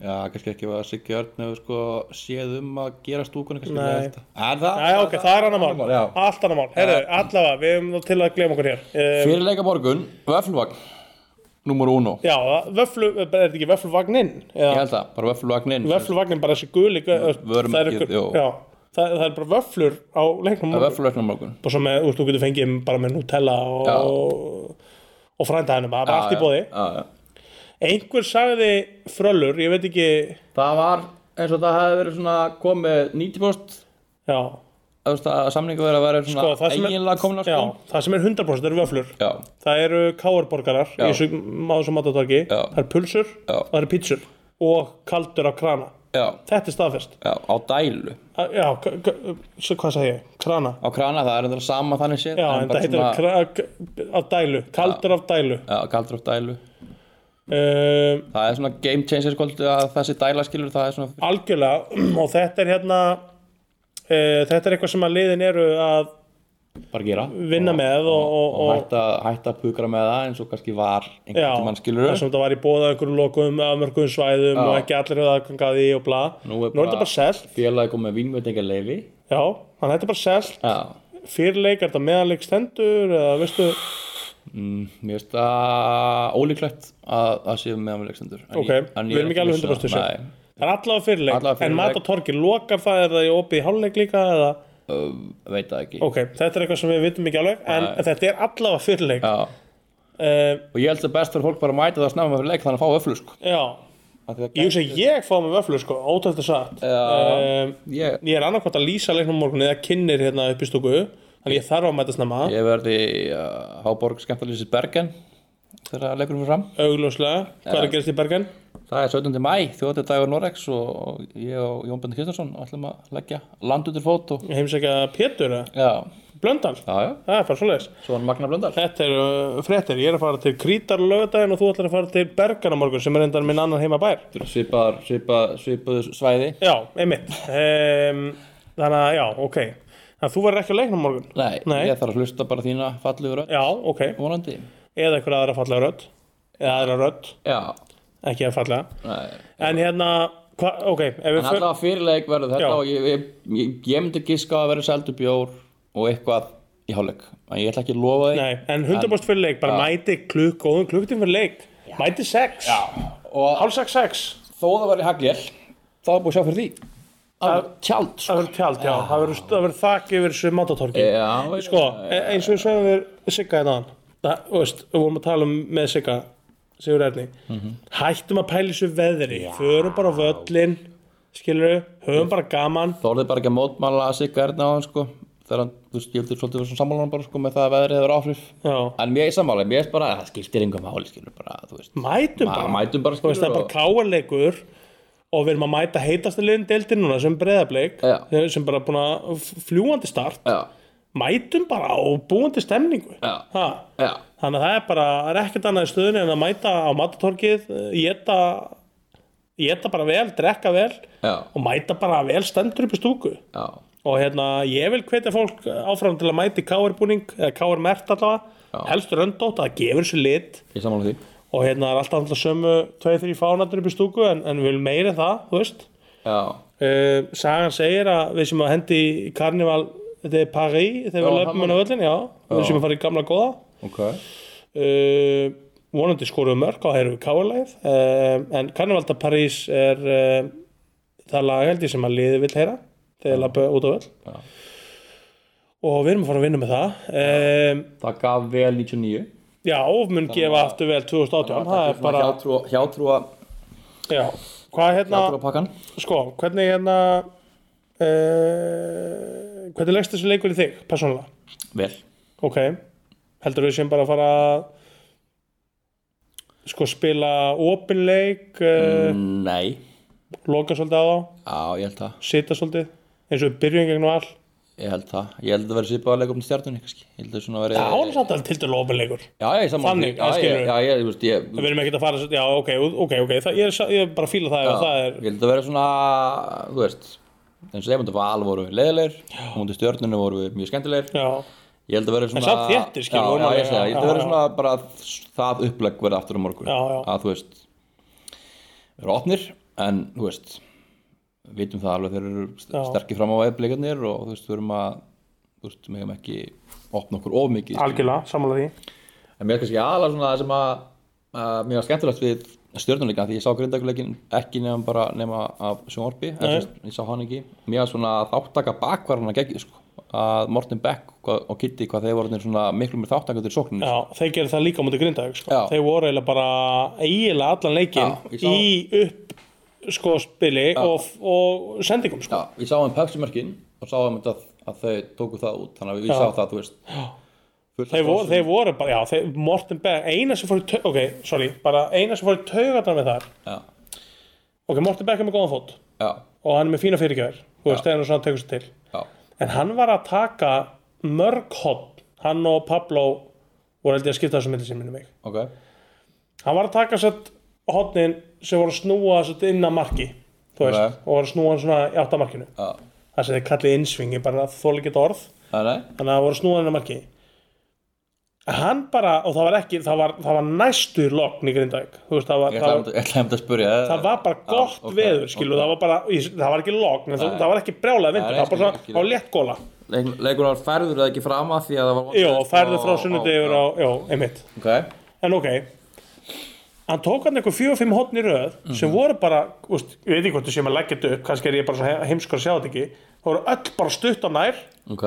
kannski ekki að Siggi Örn hefur sko séð um að gera stúkunni kannski
Nei.
ekki þetta. En það,
Næ, ok, það er annar mál.
já.
Allt annar mál. Herðu, allavega, við hefum nú til að glema okkur hér. Um,
Fyrir leika morgun, Vöflvagn Númer 1
já, það- vöflu, er þetta ekki vöfluvagninn?
Ég
Eða
held það, bara Vöflvagnin
vöfluvagninn, bara þessi guli, gö-
Vörmerkið,
það er ykkur,
jú.
já. Það, það er bara vöflur á leiknum. morgun.
Vöflvagnin morgun
og svo með, úr, þú getur fengið bara með Nutella
Já.
og, og frændaðinu bara allt í
Já,
bóði
já, já, já.
einhver sagði frölur, ég veit ekki
Það var eins og það hefði verið svona komið 90%
já,
að, að samningu verið að vera svona
sko, það, sem
eiginlega komin
er,
að
já,
sko
það sem er 100% eru vöflur
Já,
það eru káarborgarar í
Já.
þessu maður sem matatorki
Já.
það eru pulsur
Já.
og það eru pítsur og kaldur á krana
já,
þetta er staðfest
já, á dælu
A- já, k- k- svo hvað sagði ég, krana
Á krana, það er þetta sama þannig séð
já, en
bara
það heitir
svona-
svona... af dælu kaldur af dælu
Já, kaldur á dælu
um,
Það er svona game changer skoltu að þessi dæla skilur það er svona
algjörlega *clears throat* og þetta er hérna uh, þetta er eitthvað sem að liðin eru að
bara gera
vinna með og, og,
og
og,
hætta, hætta að pukra með það eins og kannski var
já,
einhvern tímann skilur
það sem þetta var í bóða einhverjum lokum afmörkum svæðum
Já.
og ekki allir hefðu aðgang að því og bla
Nú
nú
er
er þetta
bara-
bara selt
Félagi kom með vínveitingar leifi
já, þannig að þetta er bara selt
Já,
fyrir leik, er þetta meðanleik stendur eða veistu,
Mér finnst það ólíklegt að það séu með ameríkstendur
ok, við erum ekki alveg
um
100% vissu. það er allavega fyrir leik,
Allavega fyrir
en
leik.
mat og torki lokar það, er það í opið í hálfleik líka eða,
Nei, veit það ekki
ok, þetta er eitthvað sem við vitum ekki alveg en þetta er allavega fyrir leik
Já.
uh,
Og ég held að best fyrir fólk bara að mæta það snemma fyrir leik þannig að fá öflug sko.
Ehm, já,
Af því að-
Ég hugsa að ég fá með vöflur sko, ótæft að satt
Já.
um,
Ég,
Ég er annarkvæmt að lýsa leiknum á morgun eða kynnir hérna upp í stúku Þannig ég þarf að mæta snemma,
ég verði uh, Háborg skemmtalýsis Bergen þegar leikurinn fyrir fram
augljóslega Hvað er að gerast í Bergen?
Það er 17. mæ, þjóðið dagur Norex og ég og Jón Björn Kristjánsson ætlum að leggja land undir fót og...
Ég Heimsækja Pétur eða?
Já,
Blöndal?
já, já,
Það er bara svoleiðis
svo hann Magna Blöndal
Þetta er uh, fréttir, ég er að fara til Krítar lögadaginn og þú ætlar að fara til Bergen á morgun sem er endan minn annan heima bær
Svipaður, svipaður, svipaður svæði
Já, einmitt um, Þannig að, já, ok Þannig að þú verður ekki á leiknum á morgun
Nei,
Nei.
ég þarf að hlusta bara þína fallegu rödd
Já, ok
vonandi
Eða einhverja aðra fallega rödd Eða aðra rödd,
Já,
ekki að fallega
nei
En hérna, hva, ok, ef við
En
fyrir...
allavega fyrirleik verður þetta
Já.
og ég, ég, ég, ég myndi giska að verður seldu bjór og eitthvað í hálfleik en ég ætla ekki að lofa því
Nei, en 100% fyrir leik, bara mæti klukk, góðum klukktíma fyrir leik, mæti 6,
og
hálf 6, 6,
þó það verður hagljel þá er búið að sjá fyrir því að tjald sko.
það verður tjald, já, það verður- það verður þak yfir þessu mátatorki.
Já,
Sko, e- eins og við sögum við Sigga hérna áðan, það, þú veist, við vorum að tala um með Sigga, Sigur Erni,
Mhm.
hættum að pæla í þessu veðri, förum bara á völlin, skilur við, höfum bara gaman,
þá er þið bara ekki að mótmála að sigga erna á hann sko þegar hann, þú veist, ég heldur svolítið verið sammálan bara sko með það að veðrið hefur áhrif
já,
en mér er sammála, mér er bara að það skiptir engum máli skilur bara, þú veist
mætum bara.
maður mætum bara
Þú veist, það
skilur
er bara káarleikur og við erum að mæta heitastu liðin deildir núna sem breyðableik
Já.
sem bara búin að f- fljúandi start
Já,
mætum bara og búandi stemningu
Já.
Ha.
já,
þannig að það er bara það er ekkert annað í stöðunni en að mæta á matatorkið geta geta bara vel, drekka vel
já,
og mæta bara vel stendur upp í stúku
já
og hérna, ég vil hvetja fólk áfram til að mæti káarbúning eða káarmert allavega,
Já.
helstur öndótt það gefur sér lit
ég er sammála því
og hérna það er alltaf alltaf sömu 2-3 fánatur upp í stúku en, en við viljum meira en það, þú veist
Já,
uh, Sagan segir að við sem að hendi í karnival de Paris þegar við
Já,
löpum
hann-
hann á öllin, já, við sem að fara í gamla góða
ok
uh, vonandi skoruðu mörg á heyrðu káarlæð uh, en karnival de Paris er uh, það lagaldi sem að liði vill heyra þegar lappa út á öll
Já.
og við erum að fara að vinna með það um,
Það gaf vel 99
já, og mun gefa aftur vel 2018 það er bara,
hjátrúa, hjátrúa,
já hvað hérna
hjátrúa pakkan
sko, hvernig hérna uh, hvernig leggst þessi leikur í þig persónulega,
Vel
ok heldur við sem bara að fara að sko spila opin leik
Mm.
uh,
Nei
loka svolítið á þá,
Já, ég held það
sita svolítið eins og við byrjum gegnum all
Ég held það Ég held að vera svipaða leikum til stjartunni kannski Ég held að svona veri
það ána samt alveg til dælu opin leikur
Já, ég er saman
Þannig,
Já,
það skilur
ég,
við.
já, ég, þú veist, ég
við erum ekkert að fara, já ok, ok, ok það, ég, er, sa- ég er bara að fíla það ef
já,
það er
Ég held að vera svona Þú veist eins og þeim undir val voru við leðilegir undir stjörnunum voru við mjög skemmtilegir
já,
ég held að vera svona
samt þéttir, skilur,
já,
vorum
já,
alveg-
ég, segi það, ég
já,
held að vera
já.
svona bara að það upplegg verða aftur á morgun
Já, já.
að þú veist vera opnir en þú veist við vitum það alveg þeir eru
Já.
sterkir fram á væðbleikarnir og þú veist við erum að þú veist, megum ekki opna okkur of mikið skilur.
algjörlega, samanlega því
En mér er kannski aðalega svona það sem að, að mér var skemmtilegt við stjórnuleika því ég sá grindakuleikin ekki nefn bara nema af sjónvarpi, eða
Nei.
þú veist, ég sá hann ekki mér var svona þáttaka bakvarðan að gegja sko, að Morten Beck hvað- og Kitty hvað þeir voru orðnir svona miklu mér þáttaka til sókninni
já, þeir gerðu það líka á mútið grindaðug sko.
Já.
þeir voru eiginlega bara eiginlega allan leikin
Já, ég sá-
í upp sko spili og, og sendingum sko.
Já, ég sá hann pepsimörkin og sá hann að, að þau tóku það út þannig að ég
Já.
sá það, þú veist fullt af
þeir, voru,
sponsum.
þeir voru bara, já, þeir, Morten Berg eina sem fór í, tau- ok, sorry, bara eina sem fór í taugarnar með þar
Já,
ok, Morten Berg er með góðan fót
já,
og hann er með fína fyrirgjör þú veist, þegar hann svona tekur sér til
já,
en hann var að taka mörg hopp hann og Pablo voru held ég að skipta þessu myndi sem minnum mig
ok
hann var að taka sett hotnin sem voru að snúa sett inn að marki þú veist,
Ok.
og var að snúa hann svona í áttamarkinu
Já,
það sem þið kallið innsvingi, bara þóli geta orð
það er
þannig að það voru snúðan að marki En hann bara, og það var ekki það var, það var næstu lokn í Grindavík þú veist, það var,
Ég
það,
ætlaði
var,
einmitt- ég ætlaði einmitt að spyrja
það var bara gott
ok,
veður, skilu,
ok.
það var bara ég- það var ekki lokn, en það, það var ekki brjálað vindur,
Nei,
það var bara svona
skil- skil-
á léttgóla
Leik- Leikurinn var færður eða ekki fram að því að það var
jú,
vandræðist
færðu frá
og-
sunnundi
og-
yfir á, jú, einmitt
Ok,
en ok hann tók hann eitthvað fjögur fimm hotn í röð sem voru bara, úst, ég veit ekki hvort þú sem að leggja þetta upp, kannski er ég bara svo he- heimskur að sjá þetta ekki það voru öll bara stutt á nær
ok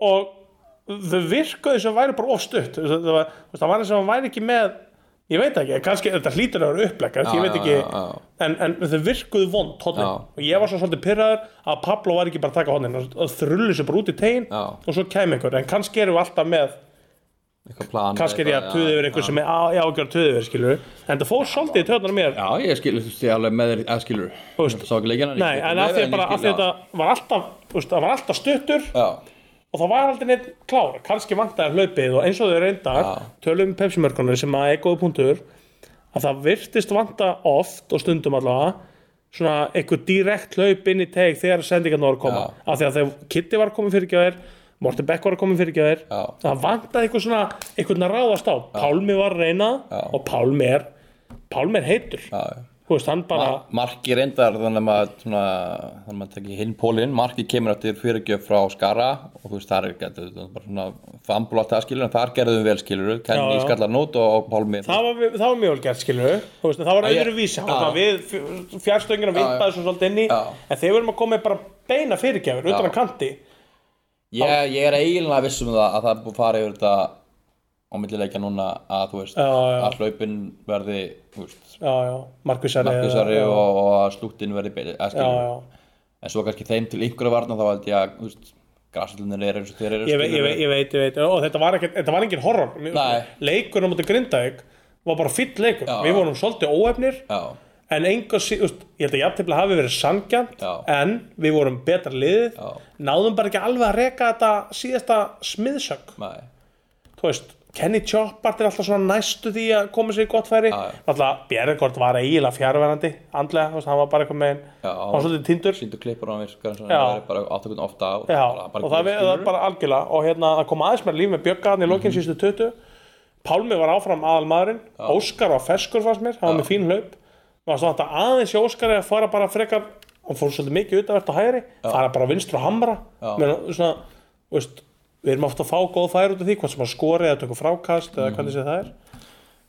og þau virkaði sem væri bara ofstutt það var, þú veist, það var eins og hann væri ekki með ég veit ekki, kannski þetta hlýtur að vera uppleggat ég
Já,
veit
já,
ekki,
já, já.
en, en þau virkuðu vond hotnin
Já.
og ég var svo svolítið pyrraður að Pablo var ekki bara að taka hotnin og þrullu sér bara út í tegin
Já.
og svo kæmi einhver, en kannski erum við alltaf með
Eitthvað plan
kannski er ég að
eitthvað,
tuða
já,
yfir einhver sem er á- ég á ekki að tuða yfir skilur en það fór svolítið í töðunar mér
Já, ég skilur, þú sé alveg með þér að skilur
Þú veist.
Ég Sá ekki leikina
nei, en af því að bara af því að þetta var alltaf þú veist, það var alltaf stuttur
Já,
og það var aldrei neitt klár kannski vantaði hlaupið og eins og þau reyndar
Já.
tölum um pepsimörkunum sem að er góða punktur að það virtist vanta oft og stundum allavega svona einhver direkt hlaup inn í teg þegar sendingarna voru að koma
Já.
af því að þegar Kitty var komin fyrir gjöðir Morten Beck var komin fyrir gjöðir
Já.
það vantaði einhver svona einhvern að ráðast á Pálmi var að reyna
Já.
og Pálmi er Pálmi er heitur
já, já
þú veist hann bara
Marki reyndar þannig að maður svona, þannig að maður tekja hinn pólinn Marki kemur eftir fyrirgjöf frá Skara og þú veist þar er gætu bara svona fambulátt að skilur en þar gerðum við vel skilur
Já,
Kenny
já.
skallar nót og, og Pálmi
það var, það var mjög vel gert skilur veist, það var
ég-
öðru vísi
Já.
við fjárstöngina vindaði svo svolítið inn í
Já.
en þeir vorum að koma með bara beina fyrirgjafir utan að kanti
ég, ég er eiginlega viss um það að það er búið að fara yfir þetta á millileikja núna að þú veist
Já, já.
að hlaupin verði þú veist,
já, já, Markusari
markvísari
já,
og, og að slúttin verði betri að
já,
skilur
já.
en svo kannski þeim til einhverja varna þá held ég að þú veist, grassallunir eru eins og þeir eru
Ég, veit, ég,
skilurðu.
veit, ég veit, ég veit og þetta var, ekkert, þetta var engin horror
Nei.
leikurinn á móti Grindavík var bara fýll leikur,
Já.
við vorum svolítið óefnir
já,
en enga síðust, ég held að jafntefnilega hafi verið sangjant
Já.
en við vorum betra liðið
Já.
náðum bara ekki alveg að reka þetta síðasta smiðsögg
nei,
þú veist, Kenny Choppart er alltaf svona næstu því að koma sér í gott færi
Já, já.
alltaf Bjerregord var eiginlega fjárverandi andlega, þú veist, hann var bara eitthvað með
Já.
hann var svolítið tindur
síndu klippur á hann virkar eins og
Já.
það er bara áttökun ofta og,
Já,
bara, bara
og það
góð,
er það
skilurðu. Mhm.
er bara algjörlega og hérna að koma aðeins með líf með bjöggarni í lokinn sístu 20 Pálmi var áfram aðal maðurinn Óskar var ferskur fannst mér, hann var með fín hlaup og það var þetta aðeins í Óskari að fara bara frekar hann fór svolítið mikið utavert á hægri fara bara vinstur og hamra
Já.
Men, svona, þú veist, við erum ofta að fá góð færi út af því hvort sem að skori eða tökur frákast
Mhm.
eða hvernig sé það er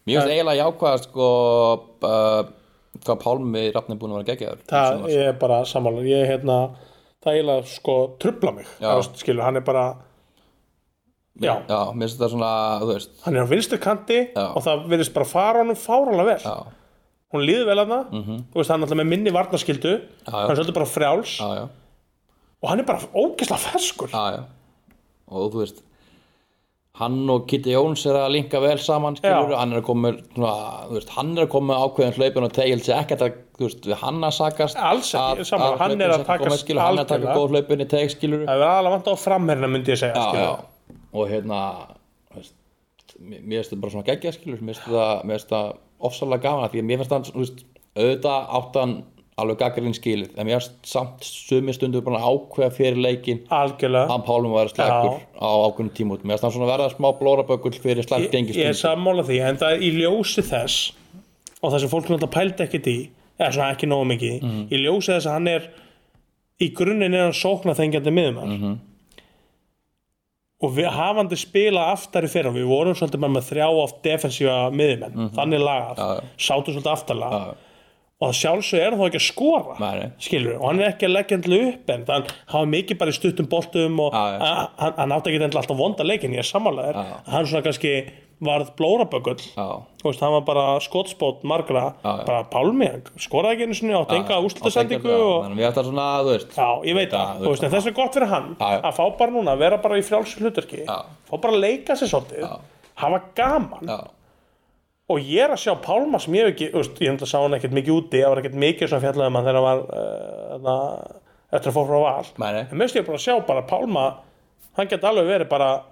mér finnst eiginlega jákvæðast sko uh, hvað Pálmi Rafn er búin að vera geggjaður
það ég
sko.
er bara sammála ég hérna, það eiginlega sko trubla mig,
Já.
þú veist, skilur, hann er bara já,
já, mér finnst þetta svona, þú veist
hann er á vinstri kanti
Já.
og það virðist bara fara honum fáralega vel
já, Mhm.
hún líður vel hana, mm -hmm. veist, hann er alltaf með minni varnaskildu,
Já, já.
hann er svolítið bara frjáls
já, já,
og hann er bara ógeðslega ferskur
já, já og þú veist hann og Kitty Jóns er að linka vel saman skilur,
Já.
hann er að koma með svona, þú veist, hann er að koma með ákveðin hlaupin og tegil sér ekkert að þú veist, við hann að sakast
Alls ekki,
að-
sammála,
að
hann
hlaupin
er að
sem
taka
koma, skilur, hann er að taka
algjörlega.
góð hlaupin í teg skilur
það er alveg vant á framherna myndi ég segja
já,
skilur.
já. og hérna þú veist, mér mér finnst þetta bara svona geggja skilur mér finnst þetta- mér finnst þetta ofsalega gaman af því að mér finnst hann þú veist, auðvitað átt hann alveg gaggarinn skilið en mér varst samt sumi stundur bara að ákveða fyrir leikin
algjörlega
hann Pálum var slagur á ákveðnum tímút mér varst hann svona verða smá blórabökull fyrir slag
ég, ég er
gengistundur
sammála því en það er í ljósi þess og það sem fólk náttúrulega pældi ekkert í eða svona ekki nógu mikið í,
Mhm.
í ljósi þess að hann er í grunninn er hann sókna þengjandi miðumar
Mhm.
og við hafandi spila aftari fyrir og við vorum svolítið bara með þrjá oft defensífa miðumenn, þannig lagað
Mhm. Já, já.
sátum svolítið aftarlega
já.
og að sjálfsög er þá ekki að skora
Nei, nei.
skilur, og hann er ekki að leggja endla upp en hann hafa mikið bara í stuttum boltum og
Já, já.
a- hann hann átti ekki endla alltaf vonda leikin, ég er sammálaður
Já.
hann svona kannski varð blóraböggull
Já.
Þú veist, hann var bara skotspót margra
Já, já.
bara pálmi, hann skoraði ekki einu sinni átti enga úrslutasendingu og
við ættum svona þú veist
Já, ég veit
Já,
það, þú veist, en þess er gott fyrir hann
Já, já.
að fá bara núna, að vera bara í frjálsum hlutverki
Já.
fá bara að leika sér svolítið hafa gaman
já,
og ég er að sjá Pálma sem ég hef ekki, þú veist, ég hefði að sá hann ekkert mikið úti það var ekkert mikið svona fjallað um hann þegar hann var uh, það, eftir að fór frá val
Nei, nei.
en mest ég er bara að sjá bara Pálma hann geti alveg verið bara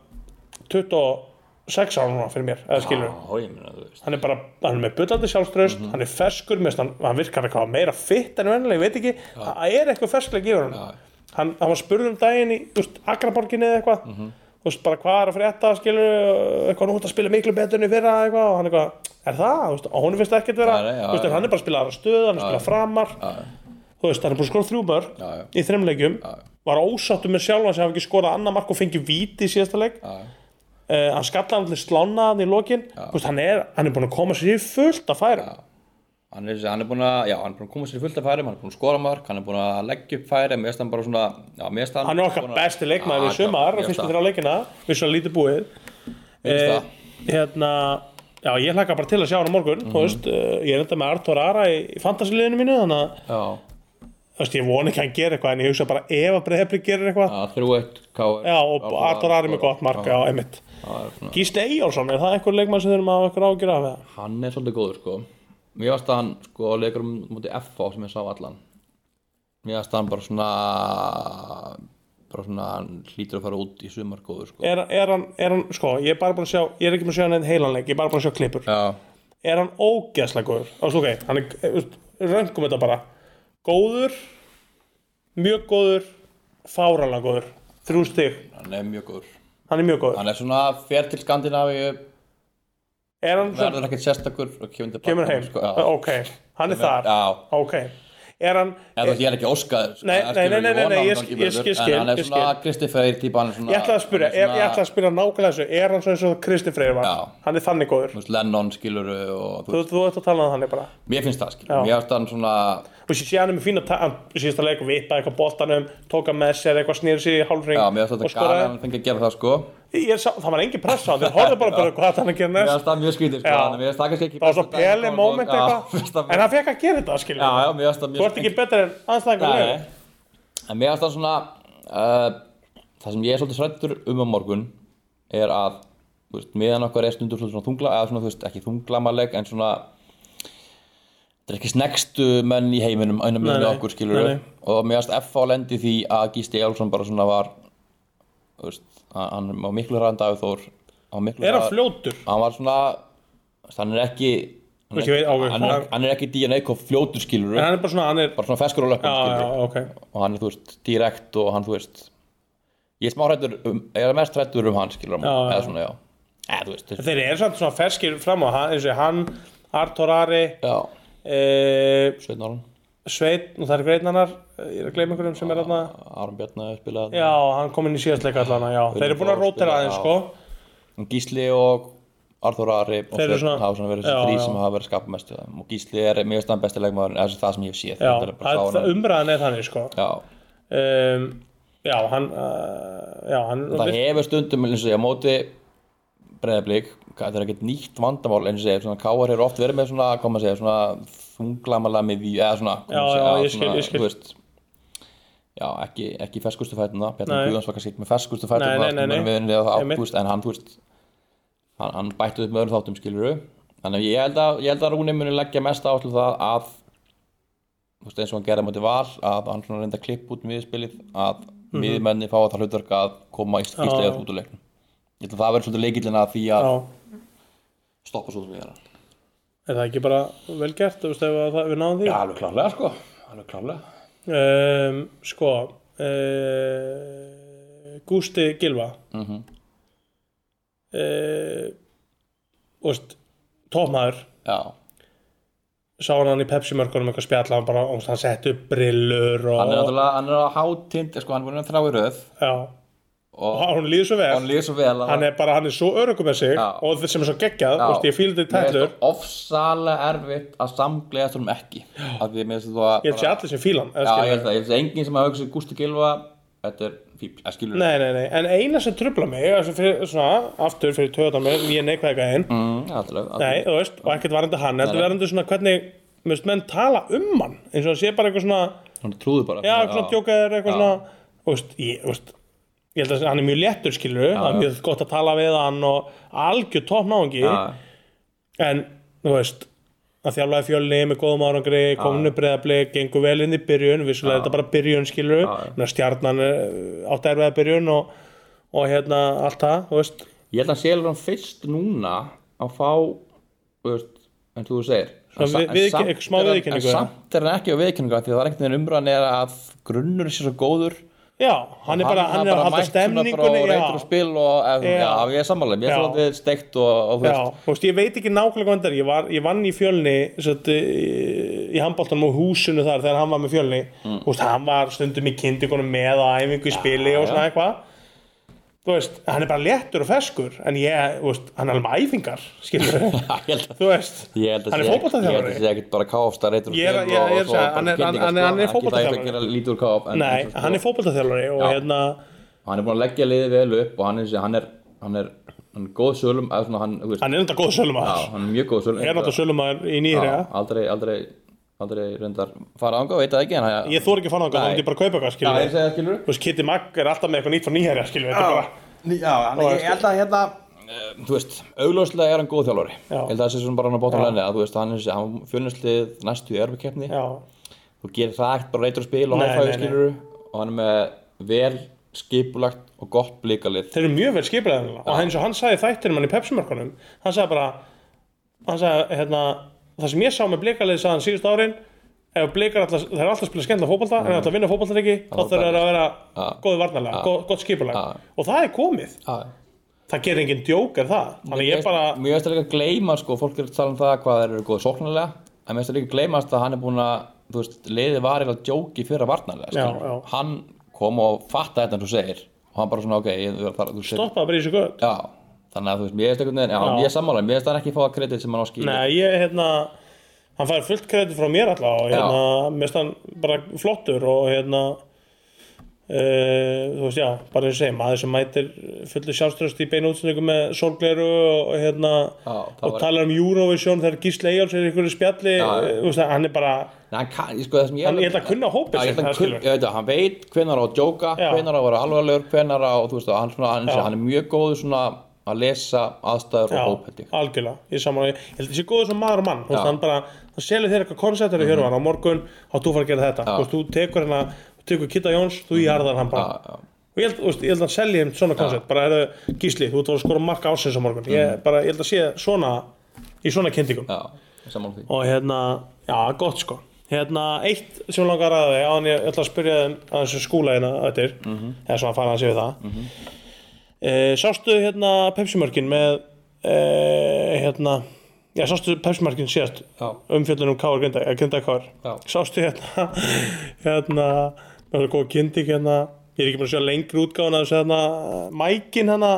26 ára núna fyrir mér eða skilur,
já, ég meina þú veist
hann er bara hann er með bullandi sjálfströst,
Mhm.
hann er ferskur mér finnst hann, hann virkar eitthvað meira fitt en vennilega ég veit ekki, það er eitthvað ferskuleg yfir hann. hann hann var spurð um daginn í þú veist, Akraborginni eða eitthvað
Mhm.
þú veist, bara hvað er að frétta, skilur eitthvað nú ert að spila miklu betur enn í fyrra eitthvað, og hann eitthvað, er það, þú veist, og hún finnst ekkert vera,
Já, nei, já,
þú veist, en
já.
hann er bara að spila aðra stöð hann er að spila framar þú veist, hann er búin að skora þrjú mörg
Já, já.
í þreimleikjum, var ósáttur með sjálfan sem hafa ekki skorað annar mark og fengið víti í síðasta leik
já.
uh, hann skalla hann til slána hann í lokin Þú veist, hann, er, hann er búin að koma sér í fullt að færa
hann er, hann er búin að, já, hann er búin að koma sér í fullt af færum hann er búin að skora mark, hann er búin að leggja upp færi mér finnst hann bara svona, já, mér finnst hann
hann er okkar
svona-
besti leikmaður
Já,
í sumar og
mér finnst
fyrstu
það.
þrjá leikina, við svona lítið búið
Mér finnst það.
hérna já, ég hlakka bara til að sjá hann á morgun
Mhm.
þú veist, uh, ég er enda með Artur Ara í, í fantasiliðinu mínu, þannig að
já,
þú veist, ég vona ekki að hann gerir eitthvað en ég hugsa bara ef að breyðhefli gerir eitthvað
já, þrjú eitt káir
já, og Artur Ara er með gott mark, já, einmitt Gísli Eyjálsson, er það einhver leikmaður sem þurfum að hafa eitthvað ágjur af það?
hann er svolítið góður sko mér varst hann sko leikur um mútið FH sem ég sá allan mér varst hann bara svona bara svona hann hlýtur að fara út í sumar góður sko
Er, er, hann, er hann, sko, ég er bara búin að sjá ég er ekki búin að sjá hann einn heilanleik, ég er bara búin að sjá klippur
já,
er hann ógeðslega góður og svo ok, hann er röngum þetta bara góður mjög góður fáralega góður, þrjú stig
hann er mjög góður
hann er mjög góður,
hann er svona fer til Skandinavíu
er hann svo,
verður ekkert sérstakur og kemur, til
kemur
baka,
heim
sko, já.
ok, hann er þar
já.
ok, er hann
Eða, þú veist, ég er ekki óskaður sko,
Nei,
það
nei,
skilur,
nei, nei,
vona
nei,
að
ég
hann
skil-
gangi
ég
betur,
skil-
en
skil,
hann er
ég
svona
skil.
Kristi Freyr típa hann er svona
ég ætlaði að spyrja,
hann er
er,
svona-
ég ætlaði að spyrja nákvæmlega þessu, er hann svo eins og Kristi Freyr var,
Já.
hann er þannig góður
þú veist, Lennon skilur og þú
þú,
veist,
þú ert að tala um þannig bara
mér finnst það skilur
Já.
mér finnst hann svona
og sé hann er með fína, ta- hann síðasta leik vipaði eitthvað boltanum, tóka með sér eitthvað snýri sér í hálfring
Já, mér finnst þetta gæri að hann fengi að gera það sko
Ég sá, það var engin pressa á hann, þeir horfðu bara bara hvað ætlar hann að gera
Mér
næst
finnst það mjög skrítið sko
Já.
þannig að Mér finnst það kannski ekki
Það var svo
besta dæmi
peli
sko,
moment
já,
eitthvað
*laughs* mér finnst það-
En hann fekk að gera þetta,
Já,
skiljum
já, mér finnst það
Þú
mjög
ert ekki betur en anstæðingar
Nei,
leiðin
nei. En mér finnst það svona uh, Það sem ég er svolítið srættur um á morgun er að þú veist, miðan okkar er stundur svolítið svona þungla eða svona, þú veist, ekki þunglamaleg en svona þetta er ekki snegstu menn í heiminum einum
Nei,
miðan
nei,
okkur skilur
nei, nei.
og mér finnst F.A. lendi því að Gísti Jálsson bara svona var þú veist, hann- hann var miklu hraðan Davíð Þór hann var miklu
Er hann
hraðar-
fljótur?
hann var svona hann er ekki
Þú veist, ég veit ákveð
hann er,
En
hann er ekki DNA kof fljótur skilur
hann er bara svona, hann er
bara svona feskur á löpum
Já, já,
skilur
ok
og hann er þú veist direkt og hann þú veist ég er smá hrættur um, ég er mest hrættur um hann skilur
Já, já.
eða svona já eða þú veist
Þeir eru samt svona ferskir fram á hann, eins og hann, Artur Ari
já
e,
Sveinn Aron
Sveit, nú það er greinanar Ég er að gleyma einhverjum sem er þarna
Aron Bjarni hefur spilað
Já, hann kom inn í síðastleika allan já. Þeir eru búin að rótera aðeins, sko
og Gísli og Arþór Ari og
Þeir eru
Sveinn
svona-
hafa svona verið
Já,
þessi
já.
þrý sem hafa verið að skapa mest í þeim og Gísli er mér veist hann besti leikmaður eða það sem ég hef séð
Já,
Þetta er bara
það-
sá hann-
það- um- umræðan er þannig, sko
já
um, Já, hann uh, Já, hann
það hefur stundum eins og ég á móti breyðablík, það er ekkert nýtt vandamál eins og ég, svona káar hefur oft verið með svona, hvað maður segja, svona þunglamala með því, eða svona, hvað
Já,
maður
já,
segja,
ég skil,
svona,
ég skil.
þú veist já, ekki, ekki ferskustu fætuna Bjarni
Nei.
Guðjóns var kannski ekki með ferskustu
Nei,
fætuna
nei, nei, nei.
við henni eða
Einmitt.
ágúst, en hann, þú veist hann, hann bætti upp með öðrum þáttum, skilur þannig að ég held að, ég held að Rúni muni leggja mest á til það að þú veist, eins og hann gerði á móti val að hann svona reynda klipp út miðspilið að
Mhm.
miðmenni fá það hlutverk að koma íslega út úr leiknum ég held að það verður svolítið leikillin að því að
Já,
stoppa svo því þeirra
er það ekki bara vel gert, þú veist, ef að það, við náðum því
alveg klálega sko alveg klálega
um, sko uh, Gústi Gilva mm
Mhm.
-hmm. uh, tómaður
já,
sá hann hann í Pepsi mörkunum eitthvað spjalla hann bara, hann sett upp brillur og,
hann er náttúrulega, hann er á hátind sko, hann er búin að þrá í röð
já,
og
og hún líður svo vel
hann líður svo vel að
hann er bara, hann er svo örugum með sig
Já.
og þeir sem er svo geggjað,
Já.
þú veist, ég fíl þetta tællur
Mér finnst það ofsalega erfitt að samglega þessum ekki að því að mér finnst
ég
það
held sé allir sem fílan
já, ég held það, ég finnst enginn sem að hugsa Gústi Gilva þetta er fíbl, að skilur
Nei, nei, nei, en eina sem trubla mig altså fyrir, svona, aftur fyrir töðan mig ég neikvæði eitthvað einn,
mm, allavega,
nei, þú veist, og ekkert varandi hann þetta varandi svona hvernig, þú veist, menn tala um hann eins og hann sé bara eitthvað svona
hann trúður bara
já, eitthvað svona djókaður, eitthvað svona þú veist, ég, þú veist ég held að hann er mjög léttur skilur það er
já.
mjög gott að tala við hann og algjör toppnáðungi
já,
en þú veist að þjálfaði fjölni með góðum árangri kominu breyðablik, gengur vel inn í byrjun vissulega er þetta bara byrjun skilur ja. stjarnan eh, átti erfiða byrjun og, og hérna allt það þú veist,
ég held að hann sé alveg fyrst núna að fá þú veist, en þú segir
Svona
En sa-
við-
en
viðurken-
samt
eitthvað smá
er hann-
viðurkenningu,
en
eða?
samt er hann ekki á viðkenninga því að það er einhvern veginn umræðan er að grunnur sé svo góður
já, hann er bara hann, er að halda
mætt svona bara
stemningunni
og
já.
reytur og spil og ef,
Já.
já. ég er sammála, ég
Já.
er svolítið steikt og, og þú
já,
veist, *laughs*
þú veist, ég veit ekki nákvæmlega hvað þetta er ég, var, ég vann í fjölni satt, í handbóltanum og húsinu þar þegar hann var með fjölni mm. veist, hann var stundum í kindikunum með og æfingu í spili og svona eitthvað þú veist, hann er bara léttur og feskur en ég, þú veist, hann er alveg með æfingar
*laughs*
skilur
ég held að
þú veist,
Ég held að
hann er
sé- Ég held
fótballþjálfari
að sé ekkert bara káfst að reytur
Ég er- ég er- ég er að segja, hann er- hann- hann er- hann er
Ekki það
fótboltaþjálfari.
ekki að gera lítið úr káf
nei, hann er fótballþjálfari og
Já.
hérna,
Hann er búin að leggja liðið vel upp og hann er, hann er, hann er, hann er góð sölum eða svona hann, þú veist,
hann er náttúrulega góð
já,
sölumæður
hann er mjög góð sölum
er náttúrulega sölumæður í nýri
Já, aldrei, aldrei, aldrei reyndar fara ánga, veit það ekki en hann
ég þór ekki að fara náttúrulega,
Nei.
þá myndi ég bara að kaupa eitthvað
Já, ég
skilur
segja það skilur
þú veist, Kitty Magg er alltaf með eitthvað nýtt frá nýherja skilur, þetta er bara
Já, en ég held að hérna
Þú veist, augljóslega er hann góð þjálfari Ég
Já.
held að það sé svona bara hann að bóta hann að þú veist, hann er hann fjölnuslið næstu í erfikeppni
já,
þú gerir það ekkert bara reytur að spila og
Nei, nei,
hægfæðu
nei.
skilur og hann er með vel skipulagt og gott blíkalið
þeir eru mjög vel skipulegðan og eins og hann sagði í þættinum hann í Pepsi-markunum hann sagði bara hann sagði, hérna, það sem ég sá með blikalið sagði hann síðust árin ef blikar alltaf, þeir eru alltaf að spila skemmtilega fótbolta en ef þeir alltaf að vinna fótboltareiki þá þurfa þeir að vera góði varnarlega, gott, gott skipulag og það er komið, það gerir enginn djók er það, þannig ég bara
Mér veist að líka að gleyma sko, fólk er að tala um það hvað þeir eru góð sóknarlega en mér veist að líka að gleymast að hann er búin að þú veist, liðið var eða djóki fyrir að varnarlega
Já,
skilur.
já.
hann kom og fatta þetta en þú segir og hann bara svona ok ég, þú- það, þú segir,
stoppaði bara í þessu gött
já, þannig að þú veist mér veist einhvern veginn, já,
Já.
ég er sammála mér veist að hann ekki fá að kredit sem hann á skil
Nei, ég, hérna, hann fær fullt kredit frá mér alltaf og hérna, mest hann bara flottur og hérna Uh, þú veist, já, bara eins og segja maður sem mætir fullu sjálfströst í beinu útsendingu með sorgleiru og, og hérna
Já, það
og
var-
talar um Eurovision þegar Gísli Eyjáls er í einhverju spjalli
Já, já.
eh, þú veist, það, hann er bara,
Nei, hann kann, ég sko það sem ég
Hann- ég held að kunna hópinn
Já,
sinn,
ég held að
það
kunna,
skilur.
ég veit að hann veit hvenar á að djóka,
Já.
hvenar á að vera alvarlegur, hvenar á, þú veist, hann, svona, hann, hann er mjög góður svona að lesa aðstæður
já,
og hóp, held ég.
algjörlega ég, saman, ég held þessi góður sem maður og mann þú veist,
Já. Mhm.
hann bara, hann selur þér eitthvað konceptur í hjörfan á morgun, á þú fara að gera þetta
Já. Mhm.
þú, veist, þú tekur hérna, þú tekur Kitta Jóns þú jarðar hann bara,
Já, já.
og ég held, þú veist, ég held að hann selji um svona koncept bara er gísli, þú ert að fara að skora marka ásins á morgun ég,
Mhm.
bara, ég held að sé svona í svona kynningum
Já, saman því.
og hérna, já, gott sko hérna, eitt sem ég langar að ræða þig á hann ég ætla að spyrja þeim að þessu skúla hérna öttir,
Mhm.
eða svona að fara að séu það mm sástu hérna Pepsi-mörkin með e, hérna já, sástu Pepsi-mörkin síðast
Já.
umfjöllunum Káar Grinda, eh, eða Grinda Káar
Já.
sástu hérna *laughs* hérna, það er góð kynning hérna ég er ekki búin að sjá lengri útgáðan að þessu hérna mækin hérna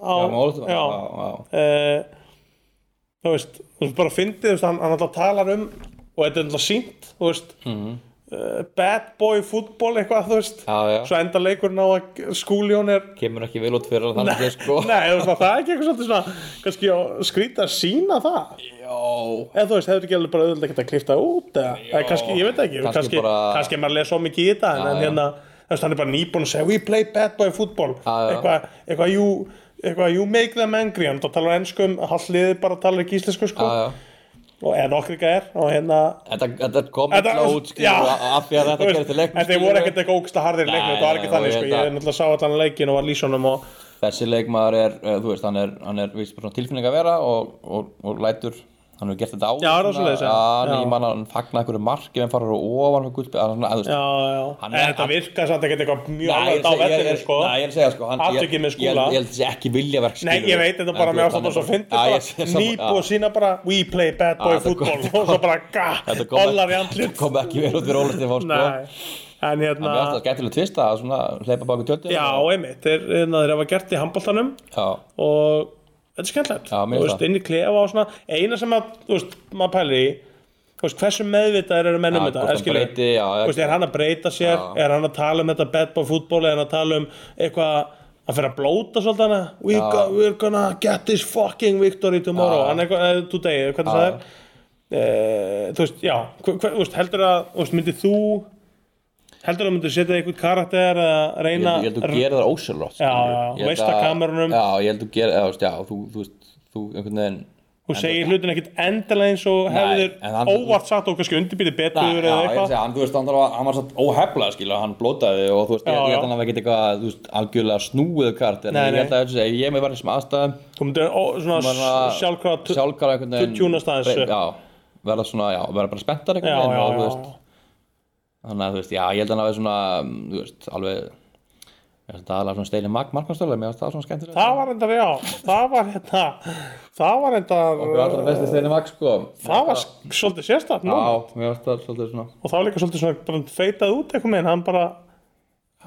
á,
Já, málið, já,
já,
já.
uh, þú veist, þú veist bara fyndið, þú veist, hann, hann alltaf talar um og þetta er alltaf sínt, þú veist mm bad boy fútbol eitthvað, þú veist,
Mhm. Já, já.
svo enda leikurinn á að skúljón er
Kemur ekki vel út fyrir hann þannig
Nei,
að sko.
nei, þú veist, það er ekki eitthvað svolítið svona kannski að skrýta að sína það
Já.
eða þú veist, hefur ekki alveg bara auðvitað ekkert að klifta út eða, eða kannski, ég veit ekki,
Kannski
kannski, kannski,
bara-
er maður að lesa svo mikið í þetta en, en
já.
hérna, þú veist, hann er bara nýbúin að segja we play bad boy football
Já, já.
eitthvað, eitthvað, you, eitthvað you make them angry hann þá talar ennskum, hallið bara talar ekki íslensku sko,
Já, já.
og eða nokkur ekki er og hérna
Þetta, þetta kom illa út, skilur, að- af því að þetta
þú veist,
gerði til leiknum,
en þeir voru ekkert eitthvað ógsta harðir í leiknum,
Nei,
þetta var ekki
nei,
þannig
og
sko,
ég
ég
veit að-
náttúrulega sá allan leikin og var lísunum og
Þessi leikmaður er, eh, þú veist, hann er, hann er víst bara svona tilfinning að vera og, og, og lætur hann hefur gert þetta á
Já, það er svoleiðis, já. Já.
ég man að hann fagna einhverju marki en farur á ofan og gullbygg að, að, að,
Já, já,
Hann
en
er-
þetta virkar samt ekkert eitthvað mjög
Nei,
alveg á
ég seg- ég-
vellinu
ég-
sko
Nei, ég er að segja sko hann- ég-
Atvikið með Skúla.
Ég held- ég held að þetta sé ekki viljaverk
Nei, ég veit þetta bara með ástæðan og svo fyndið sko. Nýbú og sína bara We play bad boy
Já, þetta
football
*laughs* kom-
og svo bara gah, bollar í andlit
kom ekki vel út fyrir Óla Stefán sko
Nei, en
Mér
hérna
finnst það gætilega tvista að svona hleypa baki tjöldin
Já, einmitt, þeir, hérna, þeir hafa gert í handbóltanum
já,
og þetta er skemmtilegt
Já,
Þú
mér finnst
veist,
það.
inn í klefa og svona eina sem að, þú veist, maður pælir í þú veist, hversu meðvitaðir eru menn um
Já,
þetta
hvort hann
eða skilur,
breyti, já,
þú veist, er hann að breyta sér
Já.
er hann að tala um þetta bad boy fútból er hann að tala um eitthvað að fyrir að blóta svolítið hana We go, we're gonna get this fucking victory tomorrow
Já.
hann eitthvað, eh, today, eða hvernig það er Eh, þú veist, já hver, hver, þú veist, heldur að, þú veist, myndir þú heldur að myndir setja einhvern karakter að
ég
reyna
held- ég held að þú gerir það
Já,
ósjálfrátt skilurðu.
já,
Ég held
veist
að-
að kamerunum-
já, ég held að þú gerir, eða, þú veist, já, þú, þú veist þú einhvern veginn
Þú segir hlutin ekkert endilega eins og hefðir
en hann-
óvart satt og kannski undirbýti
Já,
betur
já,
eða
ég er að
eitthvað
segja, hann, þú veist, hann, var, hann var satt óheflað, skilja, hann blótaði og þú veist, ég
Já,
held-
já.
ég held að hann var ekkert eitthvað, þú veist, algjörlega snúið kart, en
Nei,
ég held
nei.
að þessi, ef ég með var í sem aðstæðum,
Þú myndir ó, svona sjálfkvæða
sjálfkara einhvern veginn
tjúnast aðeins
brey-
upp.
já, verða svona, já, verða bara spenntar
Já,
einhvern veginn
já,
og, þú
já.
veist, þannig að þú veist, já, ég held að hann hafi svona mm, þú veist, alveg það er alveg svona steinu mark, markmannstölu mér finnst það svona skemmtilegt
Það var enda, já, það var enda Það var enda
okkur allra besti steinu mark, sko
Það var sk- svolítið sérstætt nú
já, mér finnst það svolítið svona
Og það var líka svolítið svona bara feitað út eitthvað með Hann bara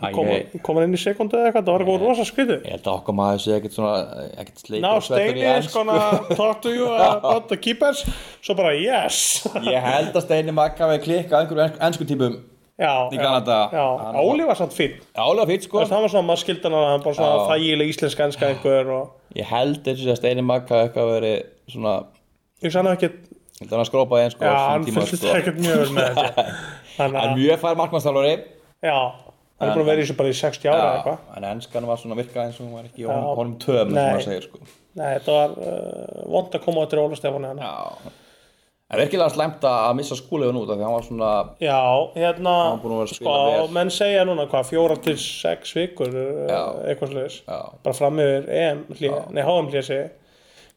Æ,
kom,
ég,
kom hann inn í sekundu eða eitthvað Það var eitthvað rosa skrýtu
ég held að okkar maður sé ekkert svona ekkert sleikur
Ná,
og sveittur
Steini
í
er sko-
ensku.
skona
*laughs*
Talk to you about the keepers Svo bara
*laughs*
yes
ég held að steinu mark hafi klikkað einhverju ensku, ensku típum
Já,
Í
já,
Kanada.
já.
Hann-
Óli var samt fín
álega fýtt,
Þú
sko
veist, hann var svona maður skildan að hann bara svona
Já.
þægileg íslenska enska einhver og
ég held eins og að steinu mark hafi eitthvað verið svona,
ég veist hann hafi ekkert
ég held að hann skrópaði eins, sko
já,
á sínum
hann
tíma,
fylgist
sko.
ekkert mjög vel með
*laughs*
þetta þannig
En
að,
mjög fær markmannstálari
já, hann er búin að vera í þessu bara í 60 ára eða eitthvað
En enskan var svona virkað eins og hún var ekki
Já.
honum, honum
Nei.
töm sem maður segir sko
nei, þetta var uh, vond að koma á þetta Óla Stefáni hann já.
Já En virkilega slæmt að að missa skúlegun út af því hann var svona
hérna,
var búinn að vera að
sko,
spila vel.
menn segja núna hvað, fjóra til sex vikur uh,
Já.
eitthvað sliðis,
Já.
bara fram yfir EM hlýja, nei, HM hlýja segi ég.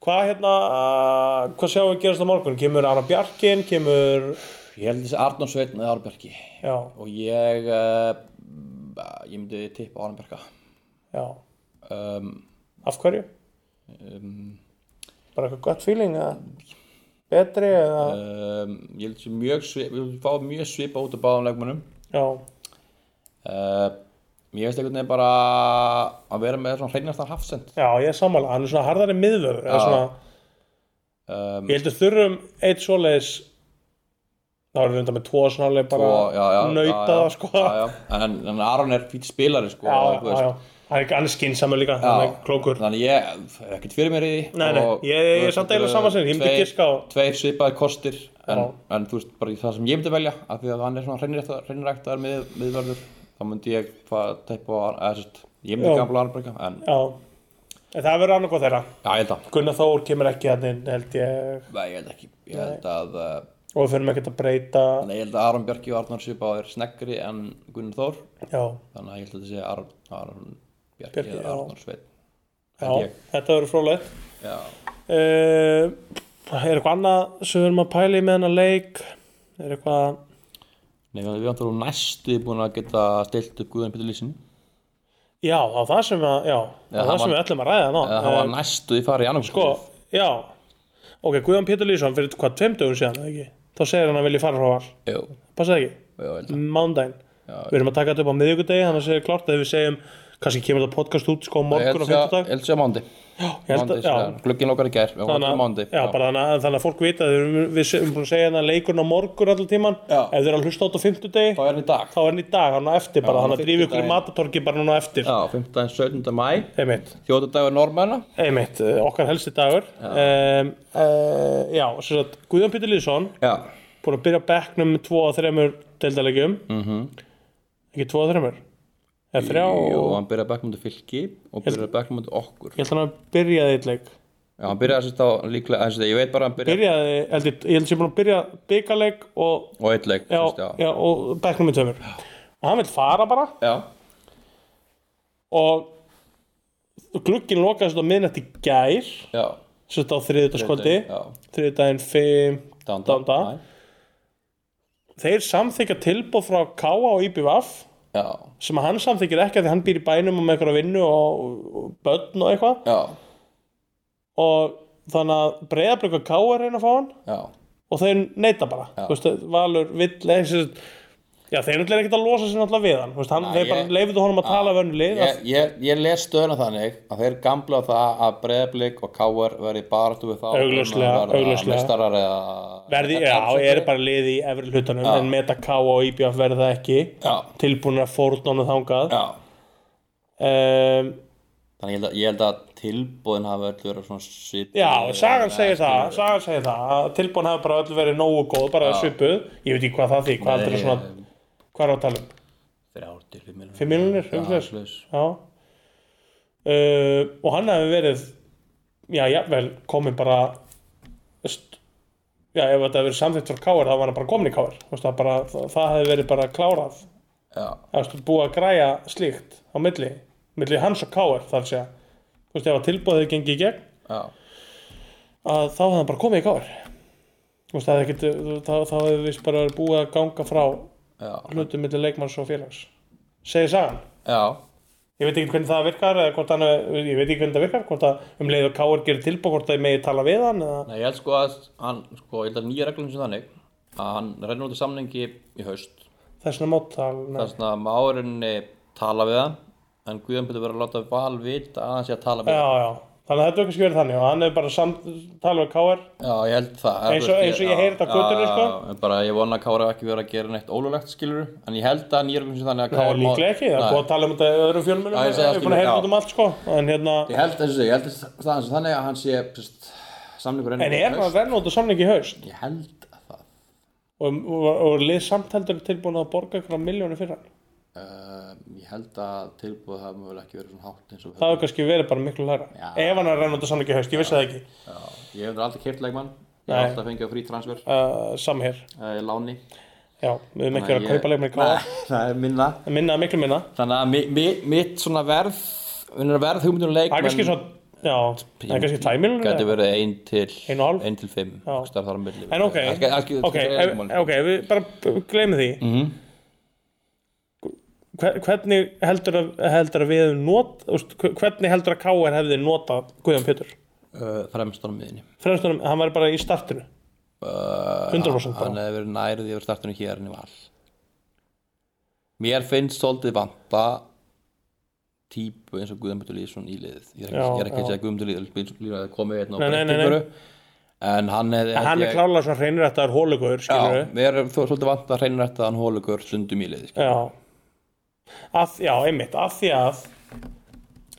hvað hérna, uh, hvað sjáum við gerast á morgun, kemur Arna Bjarkin kemur,
Ég held þessi Arnón Sveitn eða Arnbergi
já,
Og ég uh, Ég myndi tippa Arnberga
já
um,
Af hverju?
um,
Bara eitthvað gott feeling eða betri eða
um, Ég held þessi mjög svip Ég fá mjög svipa út af báðum leikmönnum
já,
uh, Ég veist einhvern veginn bara Að vera með svona hreinastan hafsend
já, ég er sammála, hann er svona harðari miðvörður eða
Já.
svona,
um,
ég heldur þurrum eitt svoleiðis þá erum við undar með tvo snálega bara
og- já, já, já,
nautaða
já,
sko
já, já. En, en Aron er fýtt spilari sko
já,
og þú
já,
veist,
já. hann er ekki alveg skynnsamur líka hann er klókur
Þannig ég hef ekkert fyrir mér í því
Nei, nei,
og-
ég- ég er
þú veist,
samt eiginlega
þetta
sama
eru
sinni, ég myndi
tveir-
giska á-
Tveir svipaðir kostir
Já.
en, en þú veist, bara í það sem ég myndi velja af því að hann er svona hreinræktaðar hreinræktaðar mið, miðvörður þá myndi ég fara að teipa á eða sérst, ég myndi
Já.
gamla Arnberga en
já, en það verður annað hvað þeirra
já, ég held að
Gunnar Þór kemur ekki hann inn held ég
Nei, ég held ekki Ég held að, uh,
og við fyrir ekkert að breyta
nei, ég held að Aron Björki og Arnar Svipaðir sneggri en Gunnar Þór
já,
þannig að ég held að þetta sé Aron, Aron Björki
Bjarki,
eða
já.
Arnar Sveit
já,
Held ég.
þetta verður frólægt
Já,
Uh, er eitthvað annað sem við erum að pæla í með hennar leik er eitthvað
nei, við vantur og næstu búin að geta stilt upp Guðan Pétur Lísin
já, á það sem, að, já, á
hann
það sem
var-
við ætlum að ræða ná. Eh,
eða hann var næstu í farið annars
sko, já ok, Guðjón Pétur Lýsson fyrir hvað tveim dögum síðan eða ekki? þá segir hann að vilja fara frá val
Jú,
passið ekki,
jú, ég held að
mándaginn við erum að taka þetta upp á miðvikudegi þannig að segja klárt að við segjum kannski kemur þetta podcast út sko á morgun og fyrtudag
Elsa Mándi Glugginn okkar í gær já,
Þannig
Þannig,
að-
Mándi,
já, bara þannig að, þannig að fólk vita að við við erum búin að segja hérna leikurinn á morgun allan tíman
Já.
ef þeir eru að hlusta á þetta á fimmtudegi
Þá er hann í dag
þá er hann í dag, hann á eftir bara,
Já,
þannig að drífi ykkur í
fimmtudaginn.
matatorki bara núna á eftir.
Já, 15. 17. mæ
Einmitt,
Þjóðardagur Normanna
einmitt, eh, okkar helsti dagur. Um, uh, já, sem sagt, Guðjón Pítur Lýðsson,
Já,
búin að byrja á bekknum með tvo að þremur deildalegjum,
Mhm.
ekki tvo að þremur, eða þrjá,
Jú, hann byrjaði backmundi fylki og byrjaði backmundi okkur
ég held að hann byrjaði eitt leik.
Já, hann byrjaði þess að líklega þess að ég veit bara að hann byrjaði
Byrjaði, held ég, ég held sem búin að byrja byggaleg og,
og eitt leik
já,
þú veist,
já. og bekknum með tveimur. Og hann vil fara bara
já.
og glugginn lokaðist á miðnætti gær
já, já,
Sett á þriðutaskvöldi
Já,
Þriðudaginn 5
danda,
Danda.
Næ.
Þeir samþykja tilbúð frá K.A. og IBVF
Já,
sem að hann samþykir ekki af því hann býr í bænum og með einhverja vinnu og, og börn og eitthvað
já,
og þannig að breyðablík og K.A. reyna að fá hann
já
og þeir neyta bara
Já.
Þú veist, Valur vill eða, sem sagt, já, þeir náttúrulega er ekkert að losa sér náttúrulega við hann Þú veist, hann,
Nei,
þeir bara
ég-
leifuðu honum að tala við önnu lið
Ég, ég, ég les stöðuna þannig að þeir gamla á það að breyðablík og káar verði baráttu við þá um
Augljóslega,
að verða
augljóslega.
Meistarar eða
verði, já, er bara lið í efri hlutanum en meta K og IBF verða ekki
Já,
tilbúin að fórnónu þangað
já
um,
Þannig ég held að, ég held að tilbúðin hafi öll verið svona sýtt
já, sagan segir það sagan segir það, að tilbúin hafa bara öll verið nógu góð, bara svipuð ég veit ekki hvað það því, hvað heldur er svona hvað er um? á talum,
Þrjár til fimm miljonir
5 miljonir,
Já,
hugsaðis
svoleiðis.
já uh, og hann hefði verið já, jafnvel, komið bara st- já, ef þetta hefði verið samþýtt frá Káar, þá var hann bara komin í Káar það, bara, það, það hefði verið bara klárað
Já,
Það er búið að græja slíkt á milli, milli hans og Káar þar að segja, þú veist ef að tilbúðið gengi í gegn,
já,
að þá hefði hann bara komið í Káar þú veist það hefði ekkert, þú- þá, þá hefði vist bara verið búið að ganga frá
já,
hlutum milli leikmanns og félags segir sagan,
já
ég veit ekki hvernig það virkar eða hvort hann, ég veit ekki hvernig það virkar hvort að um leið og Káar gerir tilbúð hvort það megi tala við hann eða,
Nei, ég held sko að hann, sko, ég held að nýja reglum sem þannig að hann reynir út í samningi í haust
þessna móttal nei.
þess að márinni tala við hann en Guðan betur verið að láta val vita að hann sé að tala við
já,
hann
já, þannig að þetta er kannski verið þannig og hann hefur bara samt, talað við Káar
Já, ég held það
Eins og- eins og ég heyri þetta á götunni, sko.
sko Bara ég vona að Kára ekki verið að gera neitt ólulegt skilur En ég held að nýja reglum sem þannig að
Það
Kára
er líklega ekki, það er búið að tala um þetta í öðrum fjölmjölum,
Já, ég
við
segi
erum búin að
það, skilur,
heyra
já.
út um allt sko, en hérna,
Ég held þessu, ég held þessu staðan sem þannig að hann sé pst, samlingur
en er maður
það?
verðn út á samningi í haust
Ég held að það
og, og, og lið samtældur tilbúin að borga ykkur á miljónu fyrir hann,
uh, Ég held að tilbúið það mögulega ekki verið svona hátt eins og
það hefur kannski verið bara miklu læra,
Já.
ef hann er verðn út á samningi í haust, ég vissi það ekki,
Já, Ég hef aldrei keft leikmann Ég
Nei.
hef alltaf fengið á frí transfer uh,
uh, samhér,
Láni
já, við höfum ekki verið
Þannig
að
ég-
kaupa leikmenn í
Nei, *laughs*
káa,
Það er minna
en minna, miklu minna,
Þannig að mi- mi- mitt svona verð Minnur verð hugmyndunum
það er
leikmann
kannski svona, já, það er kannski
Gæti
tæmiljónu,
verið 1 til
Ein og hálf?
1 til 5
Já.
En
en ok, ok, ef- ok, við bara gleymið því,
Mhm.
Hver- hvernig heldur að, heldur að við hefum not, þú veist, hvernig heldur að Káar hefði notað Guðjón Pétur
Fremst á miðinni
fremstunum, hann var bara í startinu
Uh,
100%
hann hefði verið nærið yfir startunum hér en í val mér finnst svolítið vanta típu eins og Guðmundur Lýðsson í liðið ég er ekki,
Já,
ég er ekki að
já.
segja að Guðmundur Lýðsson hefði komið hérna einn og
Nei, nei,
breytt
nei, nei.
ykkur en hann hefði
hann
ég-
er klálega svona hreinir þetta er hólugur skilur
já, mér er þó svolítið vanta hreinur þetta að hann hólugur sundum í liðið skilurðu.
já. Að, já, einmitt af því að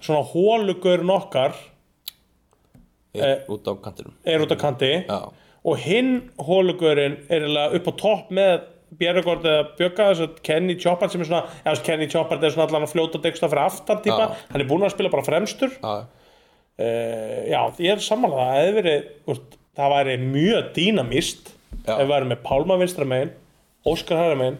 svona hólugur nokkar Eh.
Einn út á kantinum
er út á kanti
já,
og hinn hólugurinn er eiginlega upp á topp með Björgård eða Bjögga þess að Kenny Choppard sem er svona, eða þess að Kenny Choppard er svona allan að fljóta degsla fyrir aftan típa,
Já.
hann er búinn að spila bara fremstur
já,
uh, já, ég er sammála það hefði verið, úst, það væri mjög dýnamist ef
Já.
við væri með Pálma vinstra megin, Óskar hæra megin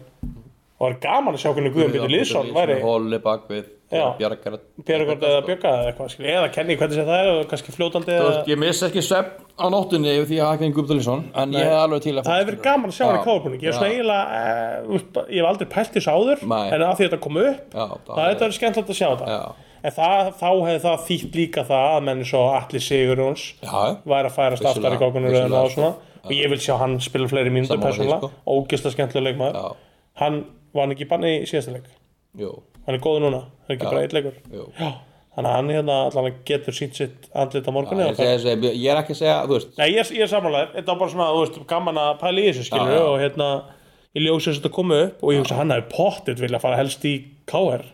og það er gaman að sjá hvernig Guðan Bítur Lýðsson væri
hóli bak við
Já.
bjargar
Björgård eða Bjögga eða eitthvað skil, eða Kenny, hvernig sé það er og kannski fljótandi
sko. Þú
eða...
veist, ég miss ekki svepp á nóttunni yfir því að hafa ekki Guðmundur Lýðsson en ég hefði alveg til að
það hefði verið gaman að sjá hann í
Já.
káfabúning ég er svona
Já.
eiginlega, eh, úst, ég hef aldrei pælt þessu áður
Nei.
en að því þetta kom upp
Já,
það hefði verið skemmtilegt að sjá þetta
Já.
en það, þá hefði það þýtt líka það að menn svo Atli Sigurjóns
Já,
væri að færast aftar í
Vissulega,
gókunur
vissulega, sko.
og svona og ég vil sjá hann spila fleiri mínútur
Sammála því,
persónulega
sko.
ógislega skemmtilega leikmaður
já,
hann var hann ekki í banni í síðasta leik
jú,
hann er góð núna, hann er ekki bara eitt leikur
jú
já, þannig að hann hérna allan getur sínt sitt andlit á morgunni
Ég,
og
segi, segi, ég er ekki að segja, þú veist
Nei, ég, ég er samanlega, þetta var bara svona, þú veist, gaman að pæla í þessu, skilur
Já, já.
og hérna, ég ljósi þess að þetta komi upp og ég hugsa hann hefði pottit vilja fara helst í KR,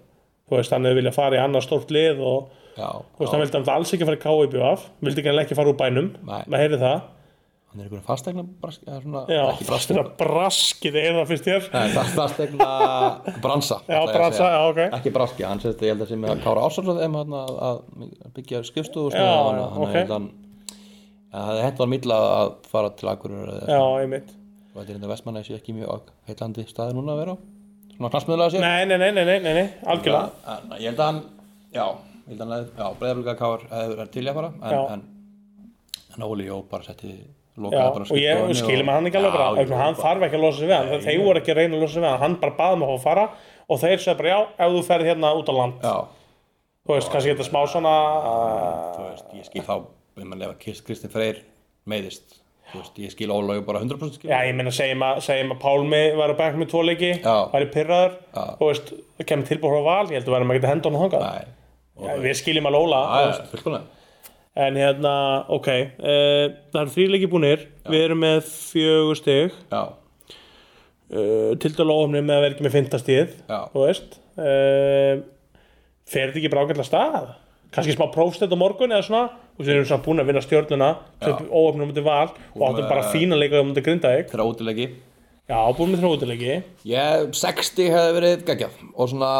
þú veist, hann hefði vilja fara í annað stórt lið og,
Já,
þú veist, hann vildi hann alls ekki fara í KIBF, vildi ekki hann ekki fara úr bænum,
Nei.
maður heyri það,
hann er einhverjum fastegna brask, eða svona,
já,
ekki brask
fastina braskið er það fyrst þér,
Nei, fa- fastegna bransa ætla ég að
bransa,
segja.
já, ok.
Ekki braski, hann sérst, ég held að sem að Kára Ársson þeim hann að, að byggja skrifstofu og
Já,
svona,
já,
hann,
ok.
hann held hann að það hendur hann milla að fara til Akurur og
já, einmitt.
þetta er þetta vestmanna sé ekki mjög heillandi staði núna að vera á svona knarsmiðlega sér
Nei, nei, nei, nei, nei, nei, nei, algjörlega,
en, ég held að hann já, ég held að hann hefði- já, breyðaflika káar hefur verið til í að fara
Já.
en, en, en Óli Jó bara setti
Já,
lokaði bara
og ég
skrifstofunni
skilum að hann ekki alveg
Já,
bara,
ég-
já, hann þarf ekki að losa sig við hann, þeir voru ekki að reyna að losa sig við hann, hann bara baði mig að fá að fara og þeir segja bara já, ef þú ferð hérna út á land,
já,
þú veist, kannski þetta smá svona, eh,
þú veist, ég skil þá ef mann lefa Kristinn Freyr meiðist þú veist, ég skil Óla Jó bara 100% skil
já, ég meina, segjum að, segjum að Pálmi var á bank með tvo leiki,
Já.
væri pyrraður, þú veist, það kemur tilbúið frá val, ég held að verðum ekki að henda honum þangað,
nei,
Já, við skiljum að lóla,
já, já, fullkomlega
en hérna, ok, uh, það eru þrý leiki búnir, við erum með fjögur stig,
já,
uh, til dæla óhumni með að vera ekki með fintastíð
Já.
þú veist uh, fer þetta ekki bara ágætlega af stað kannski smá prófstætt á morgun eða svona og við erum svona búin að vinna stjórnuna óhumni um þetta val og áttum bara fína leika um þetta grinda þig
þeirra ótilegi
já, búin með þrótileiki
ég, 60 hefði verið geggjað og svona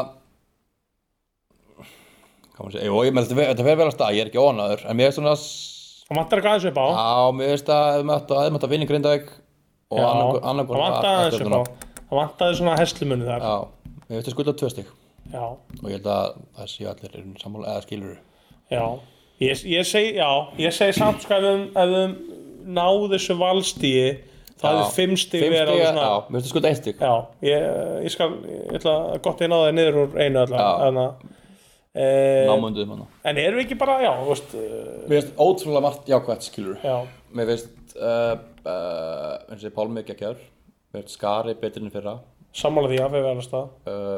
hvað maður segja, jú, ég menn þetta fer- þetta fer vel að stað ég er ekki ónaður, en mér er svona
það vantar eitthvað aðeins upp á
Já, mér veist að hefði mátt að, að vinna í Grindavík og
Já,
annarkor-
það
annarkor
vantar
að- að
aðeins upp á
stjórnuna.
það vantaði svona heslumunni þar
Já, mér veist að skulda tvö stík
já,
og ég held að það séu allir í sammála eða skilur
já ég, ég segi, já, ég segi samt sko ef við ef við náðu þessu valstíi þá hefði fimm stíg
Fimm
verið
stík,
alveg
já,
svona
mér veist að skulda eitt stík
Já, ég, ég skal, ég ætla að gott einn á það niður úr einu
Já.
allan e,
námunduð manna
En erum við ekki bara, já, þú veist eh,
Mér veist ótrúlega margt jákvætt skilur
Já,
Mér veist uh, uh, eins og Pálmi geggjör Mér veist Skari betri enn í fyrra
sammála því að við verðum stað
uh,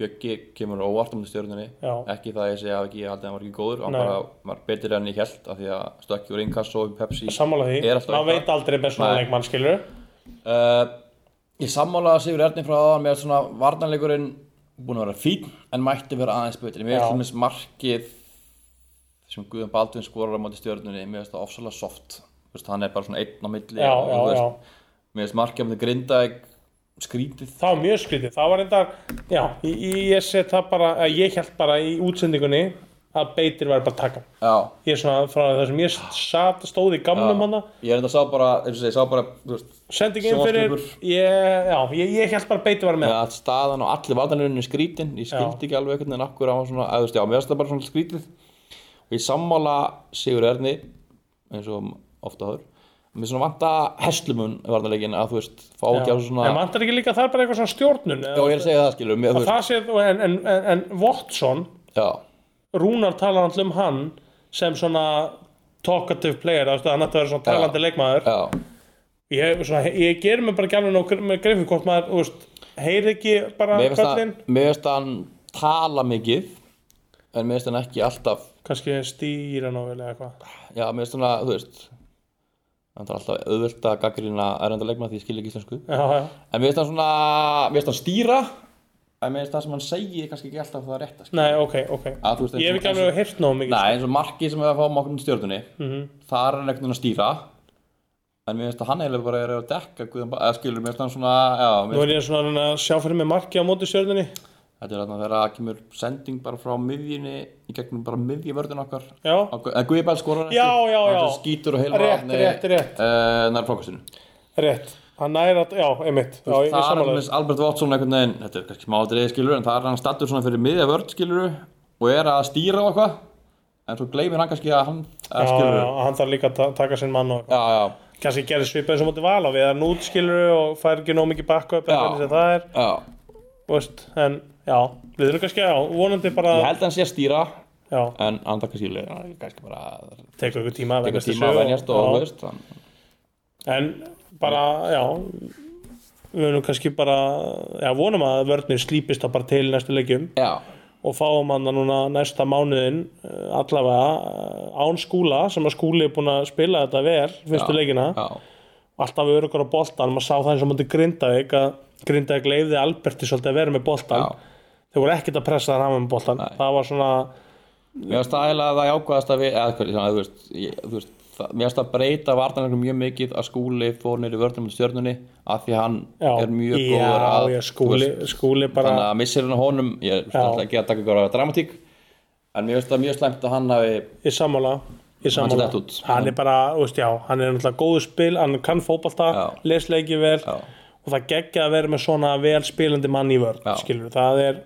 Bjöggi kemur óvart um stjórnunni
Já.
ekki það að ég segja að ekki ég held að hann var ekki góður hann
Nei.
bara var betri enn ég held af því að stökki úr inkasso og Pepsi
Sammála því,
Er alltaf
maður
eitthvað.
veit aldrei með svona
Nei.
leikmann, skilur
Uh, ég sammálaði Sigur Erni frá það mér er svona varnarleikurinn búin að vera fín en mætti vera aðeins betri mér er
Já.
til dæmis markið sem Guðan Baldvin skorar á móti stjörnunni mér finnst það ofsalega soft Þú veist, hann er bara svona einn á milli
Já,
og,
já,
þú
já,
veist, mér finnst markið á móti grinda skrítið
það var mjög skrítið Það var reyndar, já, ég, ég set það bara eh, Ég held bara í útsendingunni að beitir væri bara að taka hann.
já,
Ég er svona frá það sem ég sat, stóð í gamlum hann
ég er enda sá bara eins og ég sá bara þú veist,
Sending inn fyrir,
Sjónvarpsklipur.
ég, já, ég, ég held bara að beitir væri með
að staðan og allir varnarleikurinn er skrítin ég skildi ekki alveg einhvern veginn akkur á svona að þú veist já, mér finnst það bara svona skrítið og ég sammála Sigur Erni eins og ofta höfður mér svona vanta heslumun varnarleikin að þú veist, fá
Já.
ekki á sig svona
En vantar ekki líka þar bara eitthvað svona stjórnun
já, ég er að segja það skilur mér, þú
Það sé, en, en, en, en Watson
veist, já,
Rúnar talar alltaf um hann sem svona talkative player þannig að hann ætti að vera svona talandi leikmaður
já,
ég, svona, ég ger mig bara gæmlega nóg með greifin hvort maður, þú veist, heyri ekki bara
mér finnst
kvöldin,
hann mér finnst hann tala mikið en mér finnst hann ekki alltaf
kannski stýra nóvel eða eitthvað
já, mér finnst hann að, þú veist hann er alltaf auðvöld að gaggrina erenda leikma því ég skil ekki íslensku
já, já.
En mér finnst hann svona, mér finnst hann stýra En mér finnst það sem hann segir kannski ekki alltaf það rétt
Nei, ok, ok
Að þú veist,
Ég hef ekki sko. Mhm.
eins og-
alveg heyrt nóg mikið
Nei, eins og markið sem við að fá um okkur stjórnunni mm -hmm. Þar er hann einhvern veginn að stýra En mér finnst að hann eiginlega bara er að dekka Guðan Ba- Eða skilur, mér finnst hann svona, já mér
Nú
finnst,
er ég svona að reyna að sjá fyrir mig marki á móti stjörnunni
Þetta er þarna þegar að kemur sending bara frá miðjunni Í gegnum bara miðjavörðin okkar
Já,
Á Gu- Eða Guðbæl skorar ekki
Já, já,
Hann
já.
svo skýtur og heilum
Rétt, rétt, rétt.
uh, Nær fókastinu
rétt Hann næri að, já, einmitt Já, ég
Það er
samanlega
hans Albert Watson einhvern veginn, þetta er kannski smá atriði skilur, en það er hann stattur svona fyrir miðja vörð skilur og er að stýra á eitthvað, en svo gleymir hann kannski að hann að
Já,
skilur.
já, hann þarf líka að ta- taka sinn mann og eitthvað
Já, já,
kannski gerir svipað eins og móti vala við að nút skilur og fær ekki nóg mikið backup eða
Já.
hvernig sem það er
já.
þú veist, en já, við erum kannski já, vonandi bara,
Ég held að hann sé að stýra,
já,
en hann það kannski, hann er kannski bara að
tekur ykkur tíma að
teka
venjast
tíma að
þessu
venjast og
já.
þú veist, hann,
en bara, já við erum kannski bara já, vonum að vörnir slípist það bara til í næstu leikjum
já,
og fáum hann það núna næsta mánuðin eh, allavega eh, án skúla sem að skúli er búin að spila þetta vel fyrstu
Já,
leikina
já,
alltaf örugur á boltan, maður sá það eins og mútið Grindavík að Grindavík leifði Alberti svolítið að vera með boltan
já.
þeir voru ekkert að pressa hann að hafa með boltan það var svona,
Mér finnst það eiginlega það jákvæðast að við, eða hvernig, þú veist, ég, þú veist, það, mér finnst það breyta vartanleikum mjög mikið að skúli fór nýri vörðnum með stjörnunni, af því að hann
já,
er mjög
já,
góður að,
já,
þú
skúli, skúli bara
þannig að missir hann á honum ég
Já.
ætla ekki að taka ykkur á dramatík en mér finnst það mjög slæmt að hann hafi
í sammála í sammála,
datt út.
hann er bara, þú veist, já hann er náttúrulega góðu spil, hann kann fótbalta
Já.
lesleiki vel
Já.
og það geggja að vera með svona vel spilandi mann í vörn
Já.
skilur, það er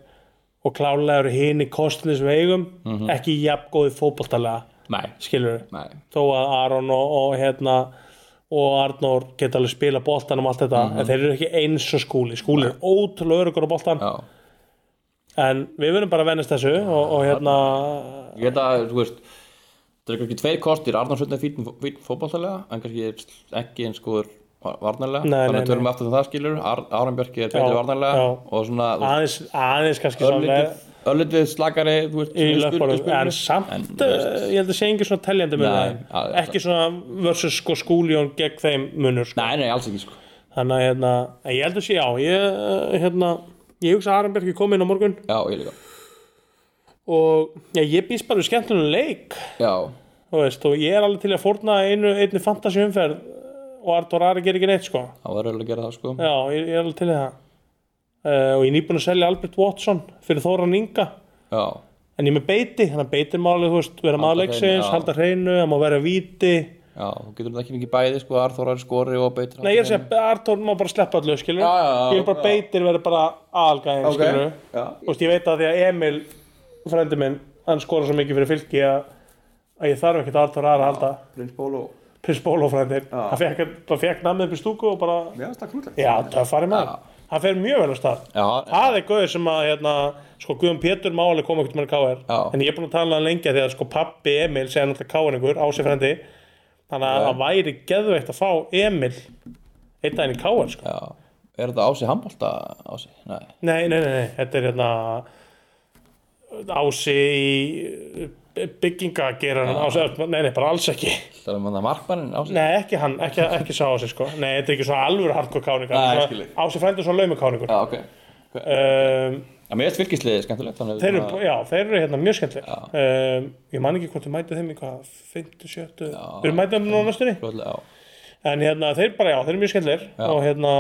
og klálega eru hini kostnins vegum ekki jafn góði fótbaltalega
Nei,
skilur við
Mhm. nei,
þó að Aron og, og hérna og Arnór geta alveg spila boltan og allt þetta,
Mhm.
en þeir eru ekki eins og skúli skúli er ótrúlega örugur á boltan
já
en við verðum bara að vennast þessu og, og hérna
Ég held að, þú veist Það er kannski tveir kostir, Arnarsson er fýtn fótballtalega en kannski er ekki eins góður varnarlega,
Nei,
þannig
nei,
að tölum aftur um það skilur, Ar Aron Björk er betri
Já,
varnarlega
já.
og svona þú veist,
aðeins, aðeins kannski
örlítið-
saman
örlítið slakari þú veist,
í
í spil- í
löpunum,
spilinu.
en samt
En, þú veist,
eh, ég held að sé engin svona teljandi mun
Nei,
þeim.
að-
ekki svona versus sko skúljón gegn þeim munur sko.
Nei, nei, alls ekki sko
þannig að hérna, en ég held að sé já ég, eh, hérna, ég hugsa að Aron Björk er komin á morgun
Já, ég líka
og já, ég býst bara við skemmtunum leik
Já,
þú veist, og ég er alveg til að fórna einu, einu fantasi umferð og Artur Ari gerir ekki neitt sko
það var öll að gera það sko
já, ég, ég er alveg til í það uh, og ég er nýbúin að selja Albert Watson fyrir Þóran Inga
Já,
en ég er með beiti, þannig að beiti málið, þú veist vera
Halda
maður leiksins,
hreinu, já.
halda hreinu, það má vera víti nei,
já, þú getur þetta ekki mikið bæði sko Arþórar skori og beitir
ég er að segja, Artur má bara sleppa allu, skilur
Já, já, já,
ég er bara
já.
beitir, verður bara aðalgæðin,
Ok,
skilur
já.
þú veist, ég veit að því að Emil frendi minn, hann skora svo mikið fyrir fylki að, að ég þarf ekkert Artur Ari að halda
Prins Bólo
Prins Bólo frændin hann fekk, hann fekk namið upp í stúku og bara
Já, það er knúlega
já, töffari maður hann fer mjög vel á stað
Já,
það er góður sem að hérna, sko Guðum Pétur má alveg koma ekkert með KR
Já.
en ég er búin að tala um hann lengi af því að sko pappi Emil segja náttúrulega KR-ingur á sig frændi þannig að það væri geðveikt að fá Emil einn daginn í KR sko.
já Er þetta ási handbólta ási? Nei,
nei, nei, nei, nei, þetta er hérna ási í byggingageran ási, eh, nei, nei, bara alls ekki
það er manna markmannin ási
Nei, ekki hann, ekki, ekki sá á sig sko Nei, þetta er ekki svona alvöru hardcore
Nei,
káningar
skilji.
Á sig frændi svona laumakáningur
Já,
ja.
ok
Ehm,
Já, mér finnst fylgisliðið skemmtilegt þannig að
þeir,
svona-
eru, já, þeir eru hérna mjög skemmtileg um, Ég man ekki hvort þau mætið þeim í hvað 50, 70, þeir mætið þeim nú á næstunni
Fljótlega, já
En hérna, þeir bara, já, þeir eru mjög skemmtilegir Og hérna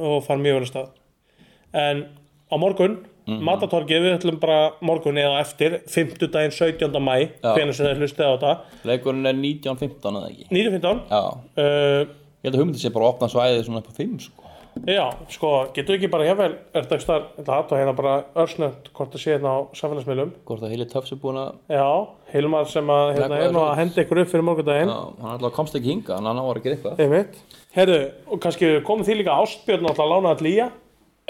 Og fara mjög vel að stað En á morgun, matatorgið Við ætlum bara morgun eða eftir 50 daginn 17. mæ,
Já.
hvenær sem þeir hlustið á þetta
Leikurinn er 19.15 eða ekki
19.15
Já,
uh,
ég held að hugmyndið sé bara að opna svæðið svona upp á 5 sko
Já, sko, getur ekki bara hefvel er þetta ekki starf, þetta aðtóð hérna bara örsnögt hvort það sé hérna á samfélagsmiðlum
Hvort að heili töfs er búin að
Já, Hilmar sem að hérna
Leggur
er nú að
örsnöggt.
henda ykkur upp fyrir morgundaginn
Já, hann alltaf komst ekki hinga, hann á að gera eitthvað
einmitt Herðu, og kannski komið því líka Ástbjörn alltaf að lána að lýja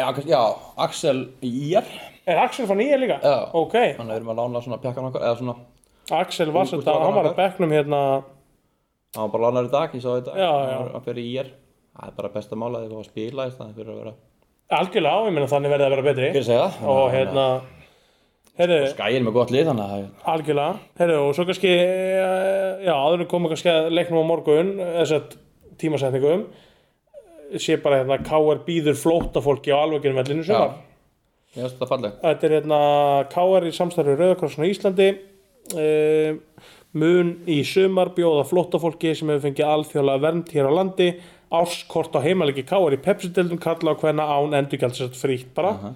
Já, kannski- já Axel Ír
Er Axel fann nýja líka?
Já.
Ok,
Þannig að við erum að lána svona pjakkan okkar eða svona
Axel var
Ungur
svolítið að hann var að
strákur.
bekknum hérna
hann var bara lánar í dag, ég sá þetta
Já,
Hann
já.
var- hann fyrir IR það er bara besta mála þegar þú að spila í staðan fyrir að vera
algjörlega á, ég meina þannig verði að vera betri
fyrir að segja það
og hérna Herðu,
Skæin er með gott lið þannig að
Algjörlega, herru og svo kannski eh, já, áður en við komum kannski að leiknum á morgun þess að tímasetningum eh, sé bara hérna KR býður flóttafólki á alvegjum vellinu
já,
sumar
ég veist þetta falleg
þetta er hérna KR í samstarfi Rauðakrossin á Íslandi uh, mun í sumar bjóða flóttafólki sem hefur fengið alþjóðlega vernd hér á landi áskort á heimalegi KR í Pepsi-deldum kalla á hvenna án endurgjaldsett frítt bara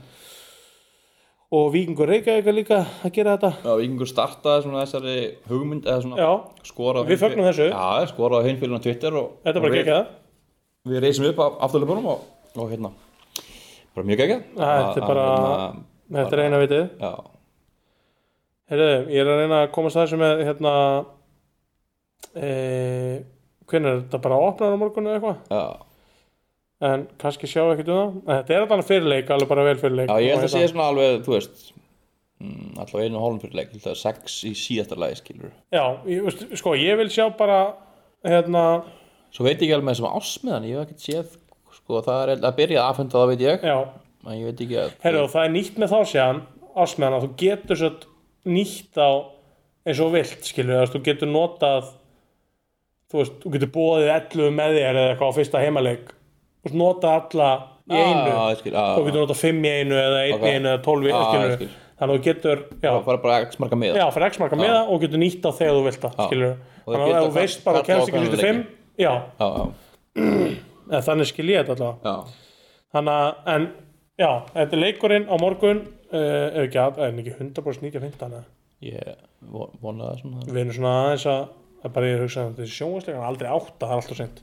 og Víkingur Reykjavík er líka að gera þetta
Já, Víkingur startaði svona þessari hugmynd eða svona
Já,
skorað á
Við
hin-
fögnum þessu.
Já, skoraði hinfélagin á Twitter og
þetta er bara
og
að
við-
gegja það
Við reysum upp af afturleipunum og, og hérna bara mjög gegja
þetta er bara- Þetta er eina vitið.
hérna, Já,
Heyrðu, ég er að reyna að komast að þessu með hérna e, hvernig er þetta bara opnar á morgunu eða eitthvað
já
en kannski sjá ekkert um það En þetta er alltaf fyrirleik, alveg bara vel fyrirleik
Já, ég held
Og hérna-
að sé svona alveg, þú veist mm, allavega einu og hálfum fyrir leik, ég held að sex í síðasta lagi skilur
Já, ég, veist, sko, ég vil sjá bara hérna,
Svo veit ég ekki alveg með þessum ásmiðan, ég hef ekkert séð sko, það er að byrja að afhenda það veit ég
já,
en ég veit ekki að
heyrðu, og það er nýtt með þá séðan ásmeðan að þú getur svo nýtt á eins og þú vilt, skilur, þú veist, þú getur notað þú veist, þú getur bóðið 11 með þér eða eitthvað á fyrsta heimaleik og notað alla í einu
ah, skil, ah,
þú getur notað 5 í einu eða 1
Ok.
í einu eða 12 í einu
Ah, ég
skilur.
skil.
þannig að þú getur já,
Það var bara x marka með
já, fyrir x marka meða og getur nýtt á þegar þú vilt það skilur.
Og
þannig að ef
geta
þú
kall-
veist bara
kalla
að kemst
á
ekki
hvernig
lítið 5 já,
já, já,
eða þannig skil ég þetta allavega
já.
þannig að, en já, þetta er leikurinn á morgun uh, ef ekki að, en ekki 100% 95 eða.
Ég von- vona það svona
við erum svona aðeins að að bara ég hugsa að þetta er sjónvarsleika aldrei átta, það er alltaf sent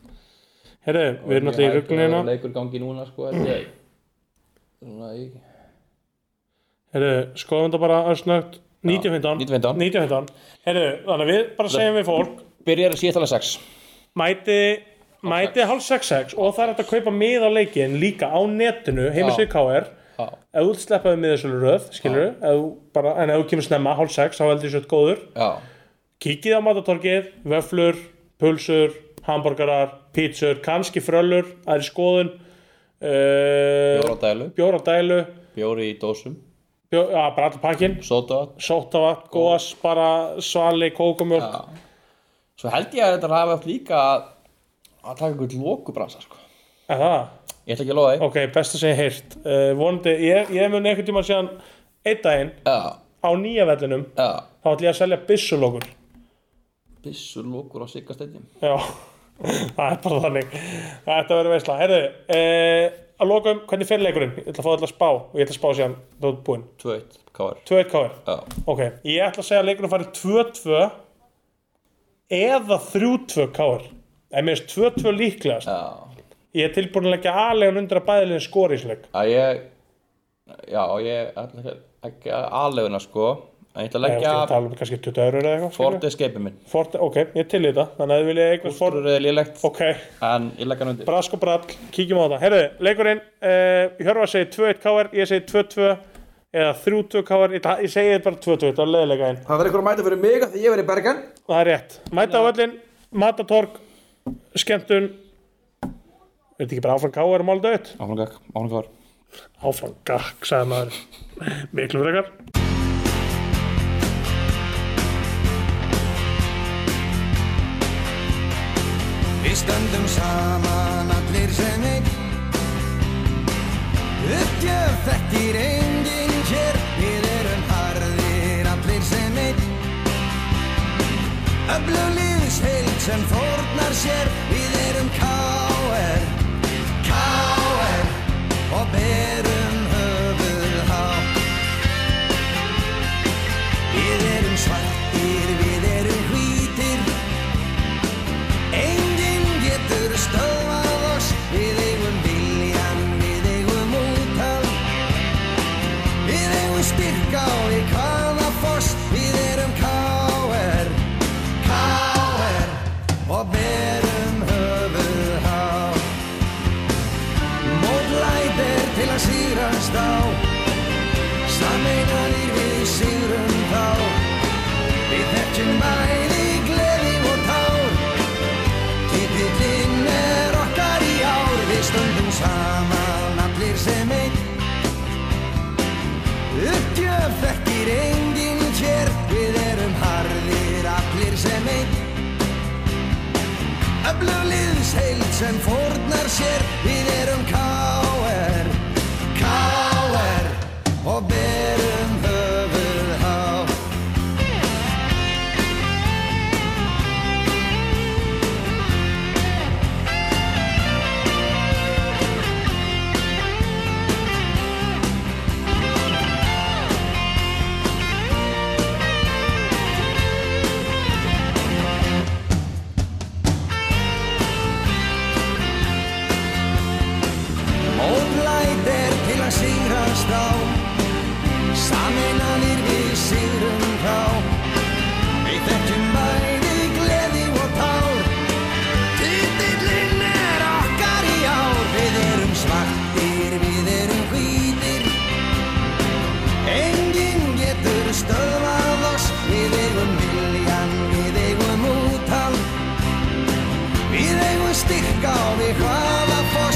Herru, við erum náttúrulega í hérna. rugglunina
leikur gangi núna sko held ég. Svona í-
Herru, skoðum þetta bara össnögt 1915
1915.
1915 Herru, þannig að við bara segjum við fólk
Byrjar að síðalega 6
mæti mæti hálf 6-6 og það er hægt að kaupa mið á leikin líka á netinu heimisvið KR
Já.
ef þú sleppaði með þessu röð skilur, ef þú bara, en ef þú kemur snemma hálf 6 þá heldur þessu góður
Já,
kikið á matatorkið, vöflur, pulsur, hambúrgarar, pítsur, kannski fröllur, það er í skoðun,
bjór
uh,
á dælu,
bjóra dælu,
bjóri í dósum
bjór, ja, bara allir pakkin,
Sota
sótavatn, góðas, bara svali, kókumjólk.
Svo held ég að þetta hafi átt líka að að taka einhvern lókubransa sko.
Er það?
Ég ætla ekki að lofa því
Ok, best að segja heyrt. Uh, vonandi, ég, ég mun einhvern tíma síðan einn daginn
Já,
á nýja vellinum,
já
þá ætlum ég að selja byssulokur.
Bissur lókur á sigasteinni
Já, *laughs* það er bara þannig Það ætti að vera veisla Herðu, eh, að loka um hvernig fer leikurinn Ég ætla að fá alltaf að spá og ég ætla að spá síðan þú ert búinn
2-1, KR
2-1 káir
Já,
Ok, ég ætla að segja að leikurinn farið 2-2 eða 3-2 káir En mér finnst 2-2 líklegast
já
Ég er tilbúin að leggja aðlegan undir að bæðilegin skori í þessu leik
Að ég Já, ég ætla ekki að- ekki að aðleguna sko En ég ætla
Ég
að
ætla að
leggja
tala um kannski 20 eurur eða eitthvað
Ford
skilur.
escape minn
Ford, Ok, ég er til í þetta Þannig að þið vilja eitthvað Ford
Ford er lélegt
Ok,
En ég legg hann undir
brask og brall, kíkjum á það Herðu, leikurinn, uh, Hjörvar segir 2-1 KR ég segi 2-2 eða 3-2 KR, ég, ég segi þetta bara 2-2 það er leiðilega einn,
Það verður ykkur að mæta fyrir mig af því ég verið Bergen
það er rétt Mæta á öllin, matatorg skemmtun er þetta ekki bara áfram KR málda auð
Áfram gakk, áfram KR
áfram gakk, sagði maður miklu frekar
Við stöndum saman allir sem einn Uppgjöf þekkir enginn hér Við erum harðir allir sem einn Öflu lífsheild sem fórnar sér Við erum káer, káer Og berum höfuð hátt Við erum svartir, við erum hvítir Enginn getur stöðvað oss Við eigum viljan, við eigum útal Við eigum styrka og í hvaða foss Við erum káer, káer Og berum höfuð há Mótlæt er til að sírast á Sameinar í við sírum þá Við þekkjum bæði gleði og tár Titillinn er okkar í ár, við stöndum saman allir sem einn. Uppgjöf þekkir enginn hér, við erum harðir allir sem einn. Öflug liðsheild sem fórnar sér, við erum káer, káer og berum höfuð hátt. Óblæt er til að sigrast á Saminanir við sigrum þá Við þekkjum bæði gleði og tár Titillinn er okkar í ár Við erum svartir, við erum hvítir Enginn getur stöðvað oss Við eigum viljan, við eigum úthald Við eigum styrka og við hvaða foss